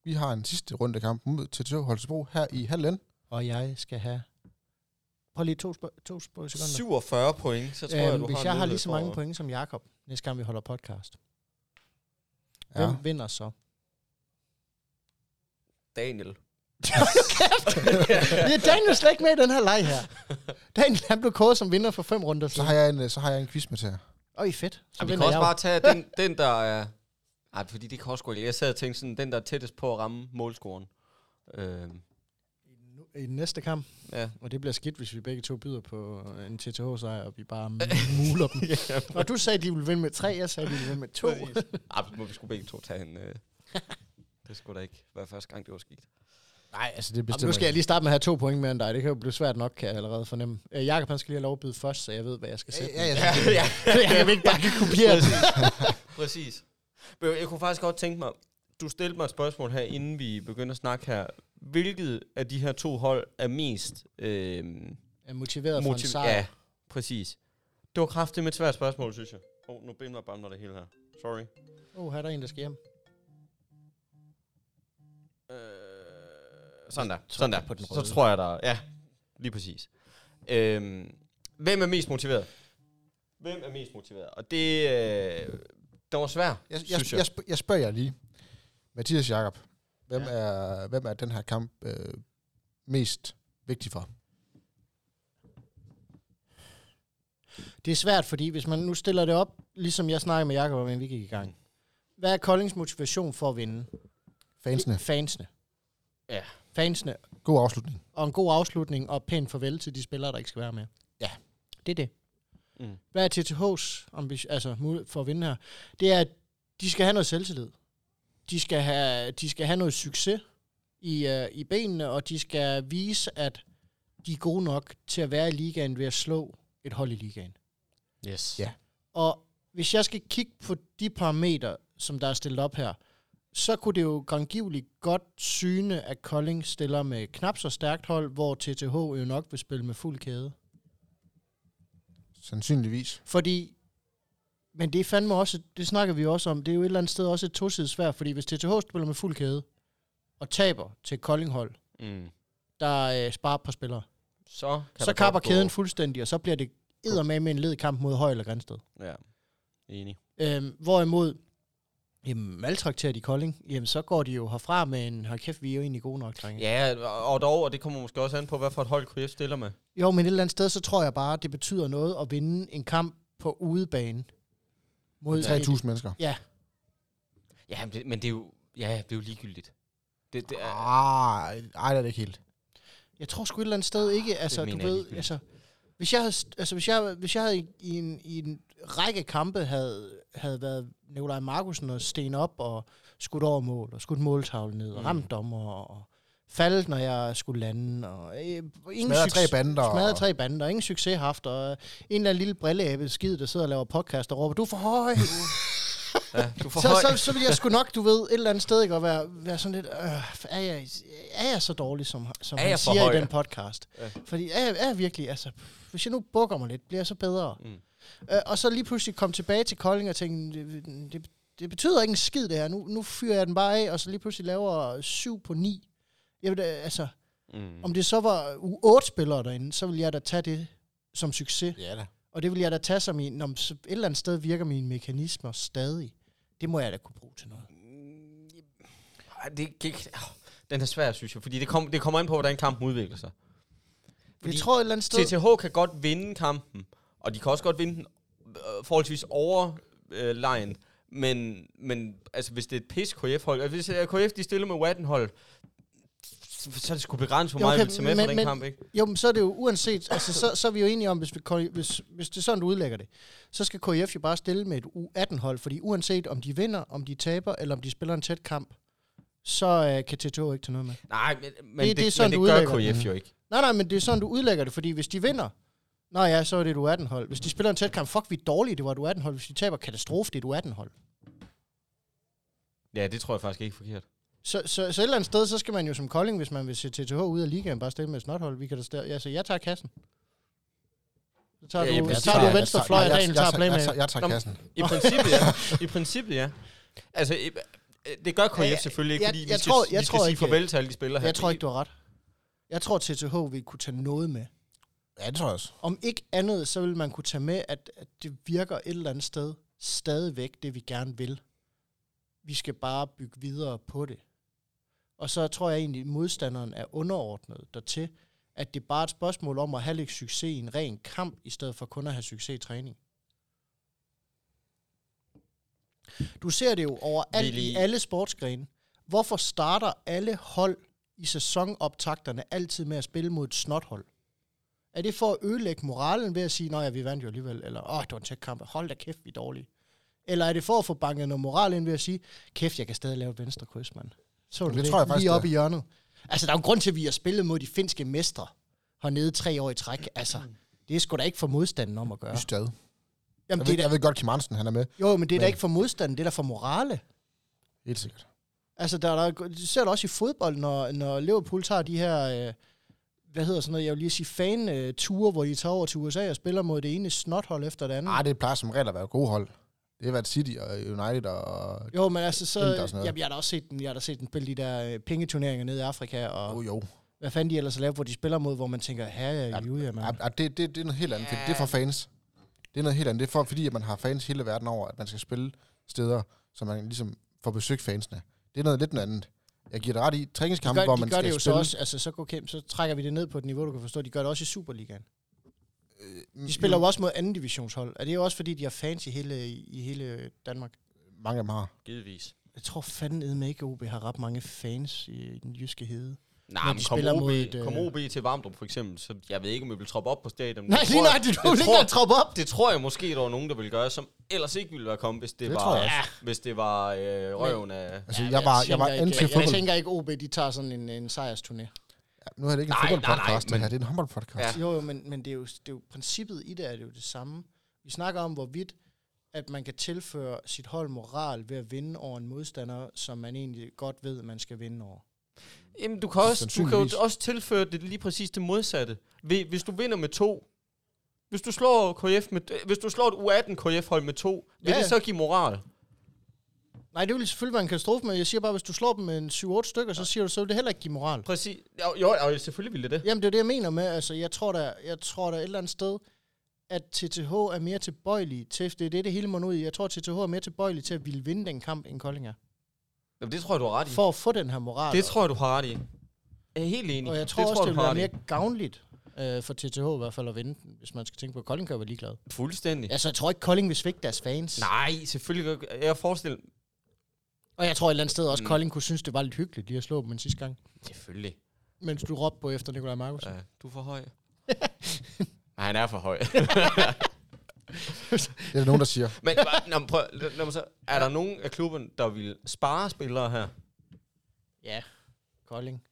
Vi har en sidste runde kamp mod TTH Holstebro her i halvlen. Og jeg skal have... Prøv lige to, sp- to sp- sekunder. 47 point, så tror øhm, jeg, du hvis har jeg en har mulighed lige så for mange at- point som Jakob næste gang vi holder podcast, ja. Ja. hvem vinder så? Daniel. Det er Daniel slet ikke med i den her leg her. Daniel, han blev kåret som vinder for fem runder Så siden. har jeg en, øh, så har jeg en quiz med til jer. Øj, fedt. Så Så vi kan vinder også bare jeg tage bare... den, den der er... Ej, fordi det kan også gå Jeg sad og tænkte sådan, den der er tættest på at ramme målscoren. Øhm, i den næste kamp. ja. Og det bliver skidt, hvis vi begge to byder på en TTH-sejr, og vi bare muler dem. Og du sagde, at de ville vinde med tre, jeg sagde, at de ville vinde med to. Ej, må vi skulle begge to tage en... Øh. Det skulle da ikke være første gang, det var sket. Nej, altså det Jamen, nu skal jeg lige starte med at have to point mere end dig. Det kan jo blive svært nok, kan jeg allerede fornemme. Øh, Jakob, han skal lige have lov at byde først, så jeg ved, hvad jeg skal sætte. Ja, ja, Ja, ja. ja. jeg vil ikke bare kan kopiere det. Præcis. Men Jeg kunne faktisk godt tænke mig, du stillede mig et spørgsmål her, inden vi begynder at snakke her. Hvilket af de her to hold er mest øh, Er motiveret for en motiv- sejr. Ja. Ja, præcis. Det var kraftigt med et svært spørgsmål, synes jeg. Åh, oh, nu binder bare mig det hele her. Sorry. Oh, her er der en, der skal hjem. Øh, sådan der. trykker Sådan der. på den Øh, Så røde. tror jeg, der Ja, lige præcis. Øhm, hvem er mest motiveret? Hvem er mest motiveret? Og det... Øh, det var svært, Jeg, jeg, jeg, sp- jeg spørger jer lige. Mathias Jakob, hvem, Ja. ja. er, hvem er den her kamp øh, mest vigtig for? Det er svært, fordi hvis man nu stiller det op, ligesom jeg snakkede med Jakob om, inden vi gik i gang. Hvad er Koldings motivation for at vinde? Fansene. Det- Fansene. Ja. Fansene. God afslutning. Og en god afslutning, og pænt farvel til de spillere, der ikke skal være med. Ja. Det er det. Mm. Hvad er TTH's ambition, altså, mulighed for at vinde her? Det er, at de skal have noget selvtillid. De skal have, de skal have noget succes i, øh, i benene, og de skal vise, at de er gode nok til at være i ligaen ved at slå et hold i ligaen. Yes. Ja. Og hvis jeg skal kigge på de parametre, som der er stillet op her, så kunne det jo grangivligt godt syne, at Kolding stiller med knap så stærkt hold, hvor TTH jo nok vil spille med fuld kæde. Sandsynligvis. Fordi, men det er fandme også, det snakker vi jo også om, det er jo et eller andet sted også et tosidesvær, fordi hvis TTH spiller med fuld kæde og taber til et Kolding-hold, Mm. der øh, sparer et par spillere, Så, kan så der kapper godt gå- kæden fuldstændig, og så bliver det eddermame med en led kamp mod Høj eller Grænsted. Ja, enig. Øhm, hvorimod, jamen, maltrakterer de Kolding, jamen, så går de jo herfra med en, hold kæft, vi er jo egentlig gode nok, drenge. Ja. Ja, og og dog, og det kommer måske også an på, hvad for et hold KF stiller med. Jo, men et eller andet sted, så tror jeg bare, det betyder noget at vinde en kamp på udebane. Mod 3.000 mennesker. Ja, men det, men det er jo, ja, det er jo ligegyldigt. Det, det er, Ah, ej, det er det ikke helt. et- Jeg tror sgu et eller andet sted ikke, altså, Ah, mener du jeg ved, ligegyldigt. altså, hvis jeg havde, st- altså, hvis jeg, hvis jeg havde i, i, en, i en række kampe havde, havde været Nikolaj Markusen og sten op og skudt over mål og skudt måltavlen ned og Mm. ramt dommer og faldt, når jeg skulle lande. Og, øh, ingen Smadret tre succes- bander. og- Smadret tre bander, ingen succes haft, og øh, en eller anden lille brilleabe skid, der sidder og laver podcast og råber, du er for høj. Ja, du får så, høj. så, så vil jeg sgu nok, du ved, et eller andet sted ikke at være, være sådan lidt, øh, er, jeg, er jeg så dårlig, som, som Er han jeg for siger høj? i den podcast? Ja. Ja. Fordi er jeg, er jeg virkelig, altså, hvis jeg nu bukker mig lidt, bliver jeg så bedre? Mm. Mm. Øh, og så lige pludselig komme tilbage til Kolding og tænke, det, det, det betyder ikke en skid det her, nu, nu fyrer jeg den bare af, og så lige pludselig laver 7 på 9. Jeg vil, da- altså, Mm. om det så var U8-spillere derinde, så ville jeg da tage det som succes. Ja da. Og det vil jeg da tage som en, om så- et eller andet sted virker mine mekanismer stadig. Det må jeg da kunne bruge til noget. Ej, det gik... åh, Den er svær, synes jeg, fordi det, kom, det kommer an på, hvordan kampen udvikler sig. Fordi Fordi jeg tror et eller andet sted... TTH kan godt vinde kampen, og de kan også godt vinde den øh, forholdsvis over øh, lejen. Men, men altså, hvis det er et pis KF-hold, altså, hvis øh, KF de stiller med Wattenhold, så er det sgu begrænset, hvor Jo, meget okay, vi tager med men- fra den men- kamp, ikke? Jo, men så er det jo uanset... Altså, så, så er vi jo enige om, hvis, vi, ko- hvis, hvis det er sådan, du udlægger det, så skal KF jo bare stille med et U18-hold, fordi uanset om de vinder, om de taber, eller om de spiller en tæt kamp, så øh, kan TTH ikke tage noget med. Nej, men, men det er det, det, sådan, men du det gør udlægger KF jo ikke. Nej, nej, men det er sådan, du udlægger det, fordi hvis de vinder, Nå ja, så er det et U18-hold. Hvis de spiller en tæt kamp, fuck, vi er dårlige, det var et U18-hold. Hvis de taber, katastrofe, det er et U18-hold. Ja, det tror jeg faktisk ikke er forkert. Så, så, så et eller andet sted, så skal man jo som Kolding, hvis man vil se TTH ud af ligaen, bare stille med et snothold. Vi kan da stille, altså, jeg tager kassen. Så tager, Ja, ja, jeg du, tager- så tager jeg du venstre fløj, og jeg, ren tager jeg, jeg, playmaker. jeg tager Nå, men- kassen. I princippet, ja. I princippet, ja. Altså, i- øh, det gør KF Ja, ja, selvfølgelig ikke, jeg- fordi vi jeg skal, tror- vi jeg skal tror sige ikke- farvel til alle de spillere her. Jeg tror ikke, du har ret. Jeg tror, TTH vil kunne tage noget med. Ja, det tror jeg også. Om ikke andet, så vil man kunne tage med, at, at det virker et eller andet sted stadigvæk det, vi gerne vil. Vi skal bare bygge videre på det. Og så tror jeg egentlig, at modstanderen er underordnet dertil, at det bare er et spørgsmål om at have lidt succes i en ren kamp, i stedet for kun at have succes i træning. Du ser det jo overalt Vil I- i alle sportsgrene. Hvorfor starter alle hold i sæsonoptakterne altid med at spille mod et snothold? Er det for at ødelægge moralen ved at sige, nej, ja, vi vandt jo alligevel, eller åh, det var en tæt kamp, hold da kæft, vi er dårlige? Eller er det for at få banket noget moral ind ved at sige, kæft, jeg kan stadig lave et venstre kryds, mand. Så du Det det, tror jeg faktisk, lige det op i hjørnet. Altså, der er jo en grund til, at vi har spillet mod de finske mestre hernede tre år i træk. Altså, det er sgu da ikke for modstanden om at gøre. Ja. Stad. Jeg, Jamen, ved, det er jeg da, ved godt, Kim Hansen, han er med. jo, men det er da men- ikke for modstanden, det er da for morale. Helt sikkert. Altså, der, er der, du ser det også i fodbold, når, når Liverpool tager de her, øh, hvad hedder sådan noget, jeg vil lige sige fan-ture, hvor de tager over til USA og spiller mod det ene snothold efter det andet. Nej, Ah, det plejer som regel at være gode hold. Det har været City og United og... Jo, men altså, så, Inder og sådan noget. jamen, jeg har da også set den, jeg har da set den spille de der øh, pengeturneringer nede i Afrika, og Jo, jo. hvad fanden de ellers laver, hvor de spiller mod, hvor man tænker, herre Ja, ja, Julia, Ja, man. ja, det, det, det er noget helt andet. Ja. Det er for fans. Det er noget helt andet. Det er for, fordi, at man har fans hele verden over, at man skal spille steder, så man ligesom får besøgt fansene. Det er noget lidt noget andet. Jeg giver dig ret i træningskampe, Gør, hvor de man gør skal det jo spille. så også, altså så, går Kim, så trækker vi det ned på et niveau, du kan forstå, de gør det også i Superligaen. Mm, De spiller jo også mod anden divisionshold. Er det jo også, fordi de har fans i hele, i hele øh, Danmark? Mange af dem har. Givetvis. Jeg tror fandme ikke, OB har ret mange fans i, i den jyske hede. Nej, Når men de kom spiller OB, mod et, øh, kom OB til Varmdrup for eksempel, så jeg ved ikke, om vi vil troppe op på stadion. Nej, Det lige tror jeg- nej, du det vil ikke tror- engang troppe op. Det tror jeg måske, der var nogen, der ville gøre, som ellers ikke ville være kommet, hvis det, Det var, tror jeg hvis det var øh, røven af... Altså, ja, jeg var, jeg var tænker anti ikke, jeg fodbold. tænker ikke, OB de tager sådan en, en sejrsturné. Ja, nu er det ikke en Nej, nej, nej, fodboldpodcast, det men- her. Det er en håndboldpodcast. Ja. Ja. Jo, jo, men, men det, er jo, det er jo princippet i det, er det jo det samme. Vi snakker om, hvorvidt at man kan tilføre sit hold moral ved at vinde over en modstander, som man egentlig godt ved, man skal vinde over. Jamen, du kan, også, du kan Sandsynligvis. jo også tilføre det lige præcis det modsatte. Hvi- Hvis du vinder med to, hvis du slår, KF med, øh, hvis du slår et U18 KF-hold med to, vil Ja, det ja. så give moral? Nej, det vil selvfølgelig være en katastrofe, men jeg siger bare, hvis du slår dem med en 7-8 stykker, så siger du, så vil det heller ikke give moral. Præcis. Jo, jo, jo selvfølgelig ville det det. Jamen, det er det, jeg mener med. Altså, jeg tror da, jeg tror da et eller andet sted, at TTH er mere tilbøjelig til, det er det, det hele må ud i. Jeg tror, at TTH er mere tilbøjelig til at ville vinde den kamp, end Kolding er. Jamen, det tror jeg, du har ret i. For at få den her moral. Det tror jeg, du har ret i. Jeg er helt enig. og jeg tror det det også, det du vil har være ret i. mere gavnligt øh, for TTH i hvert fald at vinde den, hvis man skal tænke på, at Kolding kan være ligeglad. Fuldstændig. Altså, jeg tror ikke, Kolding vil svigte deres fans. Nej, selvfølgelig. gør- Jeg forestiller Og jeg tror et eller andet sted også, Mm. at Kolding kunne synes, det var lidt hyggeligt lige at slå dem en sidste gang. Selvfølgelig. Mens du råbte på efter Nikolaj Markus. Ja, du er for høj. Nej, han er for høj. Det er der nogen, der siger. men hva- nå, men prøv, lad, lad mig så, er der nogen af klubben, der vil spare spillere her? Ja, Kolding.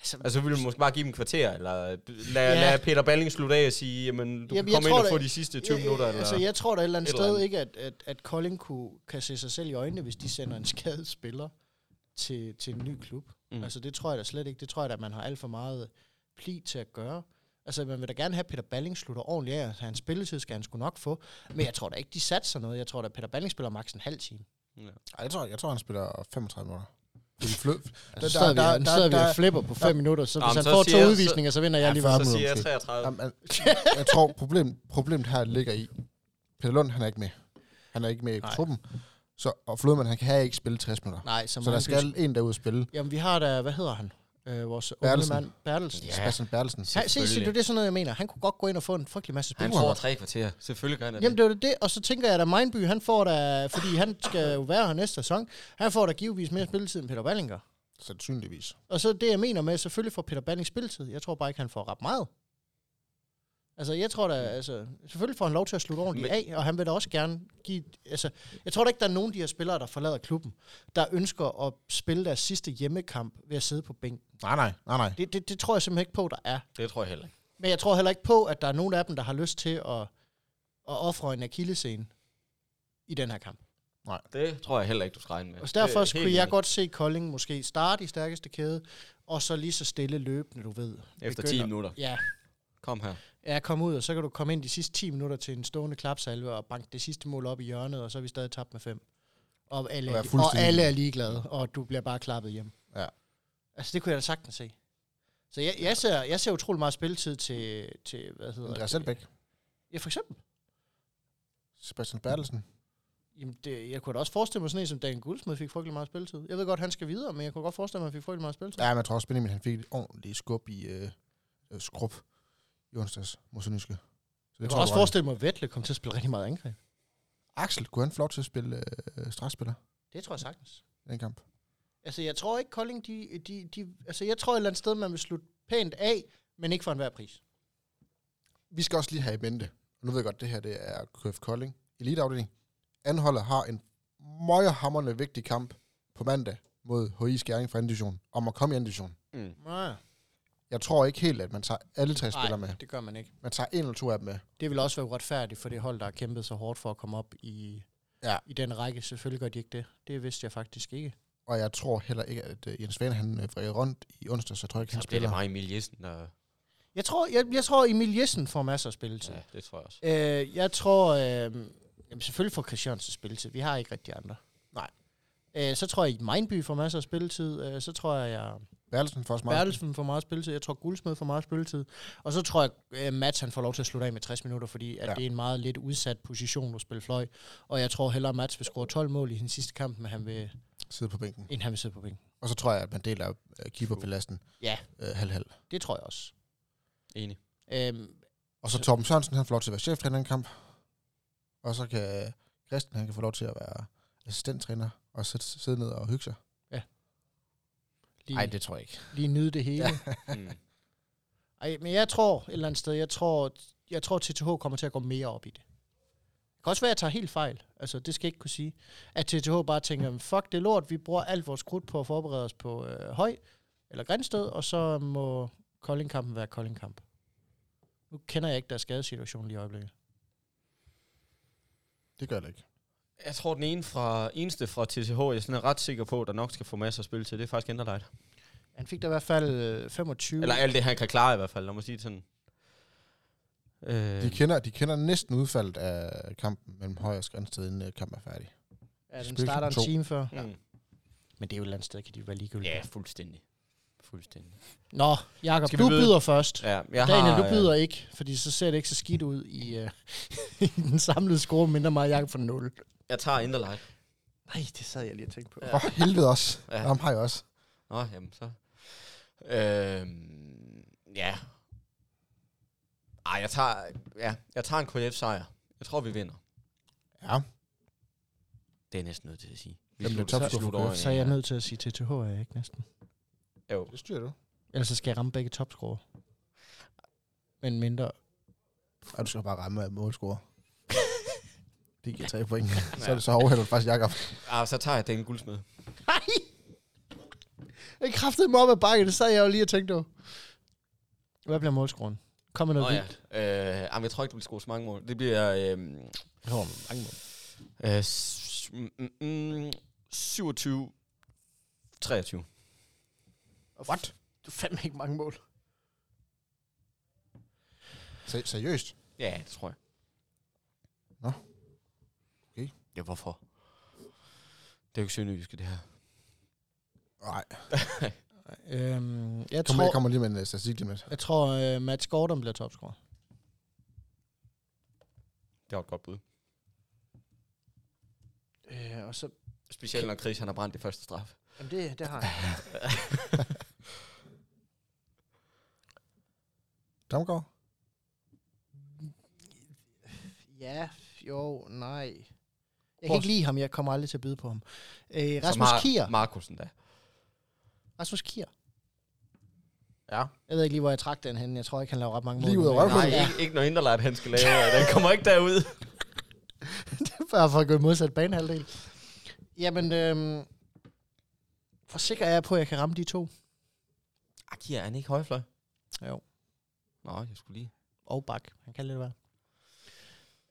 Altså, Altså, så ville man måske bare give dem en kvarter, eller øh, lad, Ja. ja. lad Peter Balling slutte af og sige, jamen, du Jamen, jamen, kan jeg komme ind tror og da- få de sidste 20 Ja, minutter, ja, eller... Altså, jeg tror da et eller andet et sted eller andet. ikke, at, at, at Kolding kunne, kan se sig selv i øjnene, hvis de sender en skadet spiller til, til en ny klub. Mm. Mm. Altså, det tror jeg da slet ikke. Det tror jeg da, at man har alt for meget pli til at gøre. Altså, man vil da gerne have, at Peter Balling slutter ordentligt af, og han spilletid skal han sgu nok få. Men jeg tror da ikke, de satser noget. Jeg tror da, at Peter Balling spiller maks en halv time. Ej, jeg, tror, jeg tror, han spiller 35 minutter. Det er en flø. Altså, der, der, der, der, der, der, der, der flipper på 5 der- minutter, så Nå, hvis men han så får siger jeg- to så- udvisninger, så vinder jeg lige så varmet siger jeg måske. 33. Jamen, al- jeg tror, problem, problemet her ligger i, Peter Lund, han er ikke med. Han er ikke med i Nej. truppen. Så, og Flodman, han kan ikke spille 60 minutter. Nej, så, Så der skal en derude spille. Jamen, vi har da, hvad hedder han? Øh, vores Bertelsen. unge mand, Bertelsen. Ja. Sebastian Bertelsen. Se, se, se, det er sådan noget, jeg mener. Han kunne godt gå ind og få en frygtelig masse Han spillere. får tre kvarter. Selvfølgelig gør han da det. Jamen, det var det, det, og så tænker jeg, at Mindby, han får da, fordi han skal jo være her næste sæson, han får da givetvis mere spilletid end Peter Balling gør. Sandsynligvis. Og så det, jeg mener med, selvfølgelig får Peter Balling spilletid. Jeg tror bare ikke, han får ret meget. Altså, jeg tror da, altså, selvfølgelig får han lov til at slutte ordentligt af, og han vil da også gerne give, altså, jeg tror da ikke, der er nogen af de her spillere, der forlader klubben, der ønsker at spille deres sidste hjemmekamp ved at sidde på bænken. Nej, nej, nej, nej. Det, det, det tror jeg simpelthen ikke på, der er. det tror jeg heller ikke. Men jeg tror heller ikke på, at der er nogen af dem, der har lyst til at, at ofre en akillescene i den her kamp. Det tror jeg heller ikke, du skal regne med. Og så derfor Det er øh, kunne helt jeg enig. godt se Kolding måske starte i stærkeste kæde, og så lige så stille løbende, du ved. Efter 10 begynder- minutter. Ja, Kom her. ja, kom ud, og så kan du komme ind de sidste 10 minutter til en stående klapsalve og banke det sidste mål op i hjørnet, og så er vi stadig tabt med fem. Og Og alle, er, være og fuldstændig- alle er ligeglade, og du bliver bare klappet hjem. Ja. Altså, det kunne jeg da sagtens se. Så jeg, jeg, ser, jeg ser utrolig meget spilletid til, til hvad hedder Andreas det? Elbæk. Ja, for eksempel. Sebastian Bertelsen. Jamen, det, jeg kunne da også forestille mig sådan en, som Dan Guldsmed fik frygtelig meget spilletid. Jeg ved godt, han skal videre, men jeg kunne godt forestille mig, at han fik frygtelig meget spilletid. Ja, men jeg tror også, Benjamin han fik et ordentligt skub i øh, øh, skrub i onsdags mod Sønderjyske. Så jeg tror kunne du også ret i. forestille mig, at Vettle kom til at spille rigtig meget angreb. Axel, kunne han få lov til at spille øh, strafspiller Det tror jeg sagtens. i den kamp? Altså, jeg tror ikke, Kolding, de, de, de, altså, jeg tror et eller andet sted, man vil slutte pænt af, men ikke for enhver pris. Vi skal også lige have i mente, og nu ved jeg godt, det her det er KF Kolding, eliteafdeling. Anholdet har en møjerhammerende vigtig kamp på mandag mod HI Skæring fra anden division, om at komme i anden division. Mm. Nej, Jeg tror ikke helt, at man tager alle tre spillere med. det gør man ikke. Man tager en eller to af dem med. Det vil også være uretfærdigt for det hold, der har kæmpet så hårdt for at komme op i, ja. Ja. i den række. Selvfølgelig gør de ikke det. Det vidste jeg faktisk ikke. Og jeg tror heller ikke, at øh, Jens Svane han øh, vrede rundt i onsdag, så jeg tror ikke, han Så bliver det spiller. bare Emil Jessen, der... Jeg tror, jeg, jeg tror Emil Jessen får masser af spilletid. Ja, det tror jeg også. Øh, jeg tror, øh, jamen selvfølgelig får Christiansen spilletid. Vi har ikke rigtig andre. Nej. Øh, så tror jeg, at Mindby får masser af spilletid. Øh, så tror jeg, at Værelsen for os meget. Bertelsen får meget spilletid. Jeg tror, Guldsmed får meget spilletid. Og så tror jeg, at Mats han får lov til at slutte af med 60 minutter, fordi at ja. Ja. det er en meget lidt udsat position at spille fløj. Og jeg tror hellere, at Mats vil score 12 mål i den sidste kamp, end han vil, sidde på bænken. end han vil sidde på bænken. Og så tror jeg, at man deler øh, keeperbelasten Ja. øh, halv-halv. Det tror jeg også. Enig. Øhm, Og så Torben Sørensen, han får lov til at være cheftræner i den kamp. Og så kan Christian, han kan få lov til at være assistenttræner og sidde, sidde ned og hygge sig. lige, Nej, det tror jeg ikke. lige nyde det hele. Mm. Ej, men jeg tror et eller andet sted, jeg tror, jeg tror TTH kommer til at gå mere op i det. Det kan også være, at jeg tager helt fejl. Altså, det skal jeg ikke kunne sige. At TTH bare tænker, fuck det er lort, vi bruger alt vores krudt på at forberede os på øh, høj eller grænsted, og så må Koldingkampen være Koldingkamp. Nu kender jeg ikke deres skadesituation lige i øjeblikket. Det gør det ikke. Jeg tror, den ene fra, eneste fra TCH, jeg sådan er ret sikker på, der nok skal få masser af spil til, det er faktisk Enderlejt. Han fik da i hvert fald øh, 25. Eller alt det, han kan klare i hvert fald, lad mig sige det sådan. Øh, De kender, de kender næsten udfaldet af kampen mellem højre og Skrændsted, inden øh, kampen er færdig. ja, den spil starter en to. time før. mm. Men det er jo et eller andet sted, kan de være ligegyldige. Ja, Yeah. fuldstændig. Fuldstændig. Nå, Jakob, Skal vi du byde? byder først. ja, jeg Daniel, har, øh, du byder ikke, fordi så ser det ikke så skidt ud i, øh, i den samlede score, mindre mig og Jakob for 0. Øh, jeg tager Enderlejt. Nej, det sad jeg lige og tænkte på. For helvede også. Ja. Ja. Ham har jeg også. Nå, jamen så. Øh, ja. Ej, jeg tager, ja, jeg tager en KF-sejr. Jeg tror, vi vinder. Ja, Det er jeg næsten nødt til at sige. Hvem blev slutter- topscorer for slutter KF? over i- Så er jeg nødt til at sige til TH, er jeg ikke næsten. Jo. det styrer du. Ellers så skal jeg ramme begge topscorer. Men mindre. Og du skal bare ramme af målscorer. det giver tre point. så, så overhælder du faktisk Jakob. Ah, så tager jeg den guldsmed. Nej! Jeg kræftede mig op ad bakke, det sad jeg jo lige og tænkte over. Hvad bliver målskruen? Kom med Nå noget ja. vildt. Øh, jamen, jeg tror ikke, du vil score så mange mål. Det bliver... Øh, Jeg tror, mange mål. øh, s- mm, mm, 27... 23. What? Du fandme ikke mange mål. Se, seriøst? Ja, det tror jeg. Nå. Okay. Ja, hvorfor? Det er jo ikke sønderjyske, det her. Nej. Øhm, jeg, Kom, jeg tror, kommer lige med en øh, statistik lige med. jeg tror, uh, Mads Gordon bliver topscorer. Det var et godt bud. Øh, og så... Specielt når Chris, han har brændt det første straf. Jamen det, det har jeg. Damgaard? Ja, jo, nej. Jeg Prøv. kan ikke lide ham, jeg kommer aldrig til at byde på ham. Øh, Som Rasmus har Kier. Markusen Altså, da. Rasmus Kier. Ja. Jeg ved ikke lige, hvor jeg trak den hen. Jeg tror ikke, han laver ret mange mål. Lige ud af Men- røvhullet. Nej, ikke, ikke når Inderlejt, han skal lave. øh, Den kommer ikke derud. Bare for at gå i modsat banehalvdel. Jamen, øhm, forsikrer jeg på, at jeg kan ramme de to. Ah, Aki, er han ikke højfløj? Jo. Nå, jeg skulle lige. Og Bak. Han kan lidt være.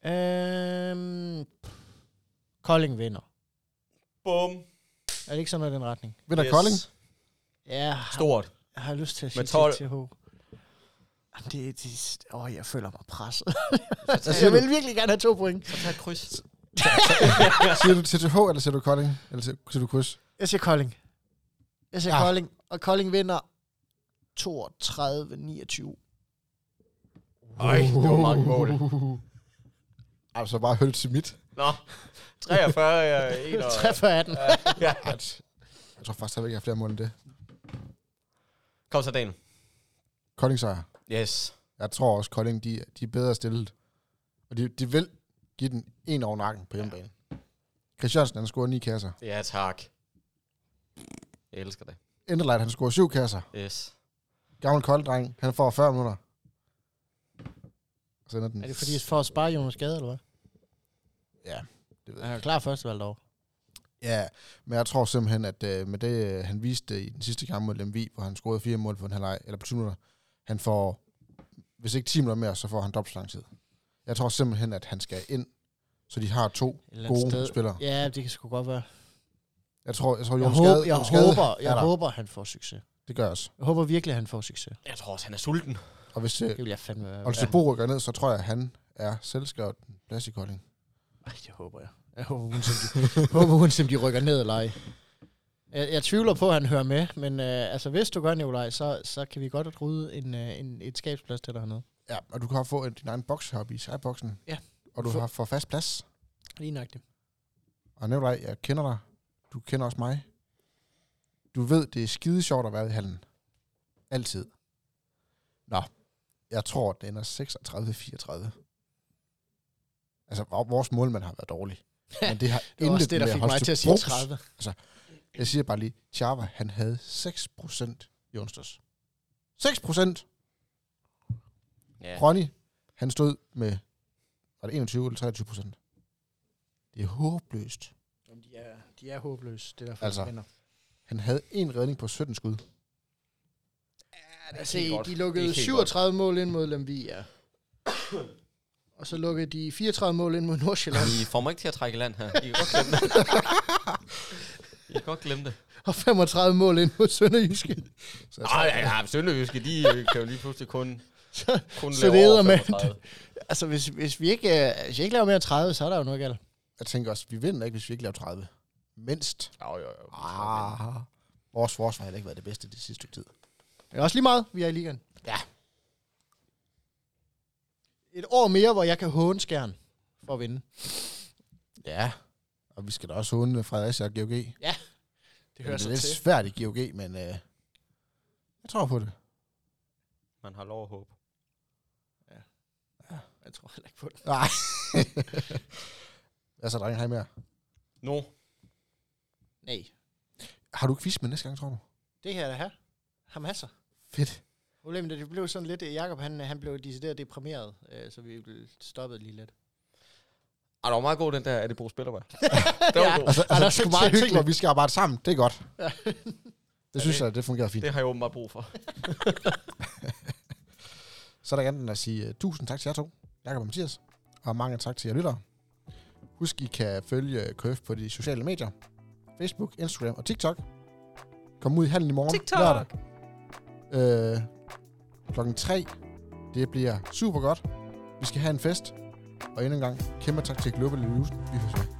Øhm, Kolding vinder. Bum. Er det ikke sådan noget i den retning? Vinder yes. Kolding? Ja, har- Stort. jeg har lyst til at Med sige 12. TH. Jamen, Det, det, åh, jeg føler mig presset. Hvad siger du? jeg vil virkelig gerne have to point. Så tag et kryds. Siger du TTH, eller siger du Kolding? Eller siger, siger du kryds? Jeg siger Kolding. Jeg siger Ah. ah. Kolding. Og Kolding vinder 32-29. Ej, det var mange mål. Altså bare høl til mit. Nå. 43, ja, 41. 3-18. Ja. Ej, t- Jeg tror faktisk, at jeg ikke har flere mål end det. Kom så, Daniel. Kolding sejr. Yes. Jeg tror også, Kolding de, de er bedre stillet. Og de, de vil give den en over nakken på hjemmebane. Christiansen, han scorer ni kasser. Ja, tak. Jeg elsker det. Enderleit, han scorer syv kasser. Yes. Gammel kolddreng, han får 40 minutter. Og så ender den. Er det fordi, for at spare Jonas Gade, eller hvad? Ja, det ved Han er jeg. jo klar førstevalg dog. Ja, men jeg tror simpelthen, at øh, med det, øh, han viste i den sidste kamp mod Lemvi, hvor han scorede fire mål på en halvleg, eller på 20 minutter, han får, hvis ikke 10 minutter mere, så får han dobbelt så lang tid. Jeg tror simpelthen, at han skal ind, så de har to Et eller andet gode sted. spillere. Ja, det kan sgu godt være. Jeg tror, jeg tror, Jeg, Jonas håber, Gade, jeg, Jonas Gade håber, er jeg der. håber, han får succes. Det gør jeg også. Jeg håber virkelig, han får succes. Jeg tror også, han er sulten. Og hvis øh, Det vil jeg fandme være. Olsebo rykker ned, så tror jeg, at han er selvskrevet plads i Kolding. Ej, det håber jeg. Jeg håber, uanset om de, jeg håber, uanset om de rykker ned eller ej. Jeg, jeg tvivler på, at han hører med, men øh, altså, hvis du gør, Nikolaj, så, så kan vi godt rydde en, øh, en, et skabsplads til dig hernede. Ja, og du kan få en- din egen boks heroppe i skyboxen. Ja. Og du For- har for fast plads. Lige nøjagtigt. Og nævn dig, jeg kender dig. Du kender også mig. Du ved, det er skide sjovt at være i hallen. Altid. Nå, jeg tror, det ender 36-34. Altså, vor- vores målmand har været dårlig. Men det har Det var også intet det, der med fik mig til at sige Holstebros- 30. Jeg siger bare lige, Chava, han havde 6% i onsdags. 6%! Ja. Ronny, han stod med, var det 21 eller 23 procent? Det er håbløst. Jamen, de, er, de er håbløse, det der for Altså, altså, vinder. Han havde en redning på 17 skud. Ja, helt altså, godt. de Det lukkede er helt 37 mål ind mod Lemvi, ja. Og så lukkede de 34 mål ind mod Nordsjælland, I får mig ikke til at trække i land her. I kan godt glemme det. I kan godt glemme det. og 35 mål ind mod Sønderjyske. Så jeg Nej, ja, ja, Sønderjyske, de øh, kan jo lige pludselig kun, kun så lave det over æder med- 35. Altså, hvis, hvis, vi ikke, øh, hvis jeg ikke laver mere end 30, så er der jo noget galt. Jeg tænker også, vi vinder ikke, hvis vi ikke laver 30. Mindst. Jo, jo, jo. Ah, vores forsvar har heller ikke været det bedste det sidste stykke tid. Men også lige meget, vi er i ligaen. Ja. Et år mere, hvor jeg kan håne skæren for at vinde. Ja. Og vi skal da også hunde Fredericia og GOG. Det, Det det er lidt svært i GOG, men øh, jeg tror på det. Man har lov at håbe. Jeg tror heller ikke på det. Nej. altså, drenge, har I mere? Nu. Nej. Har du quiz med næste gang, tror du? Det her, der her, har masser. Fedt. Problemet er, det blev sådan lidt, Jakob han, han blev decideret deprimeret, øh, så vi blev stoppet lige lidt. Ah, det var meget god den der, er det Bo Spillerberg? det var god. Altså, der altså, er det er så sgu meget tjekket. hyggeligt, og vi skal arbejde sammen. Det er godt. Det synes jeg, det fungerer fint. Det har jeg åbenbart brug for. Så er der ikke andet end at sige uh, tusind tak til jer to, Jakob og Mathias, og mange tak til jer lyttere. Husk, I kan følge Køf på de sociale medier, Facebook, Instagram og TikTok. Kom ud i handen i morgen, TikTok! lørdag. Øh, klokken 3. Det bliver super godt. Vi skal have en fest. Og endnu en gang, kæmpe tak til Global News. Vi høres ved.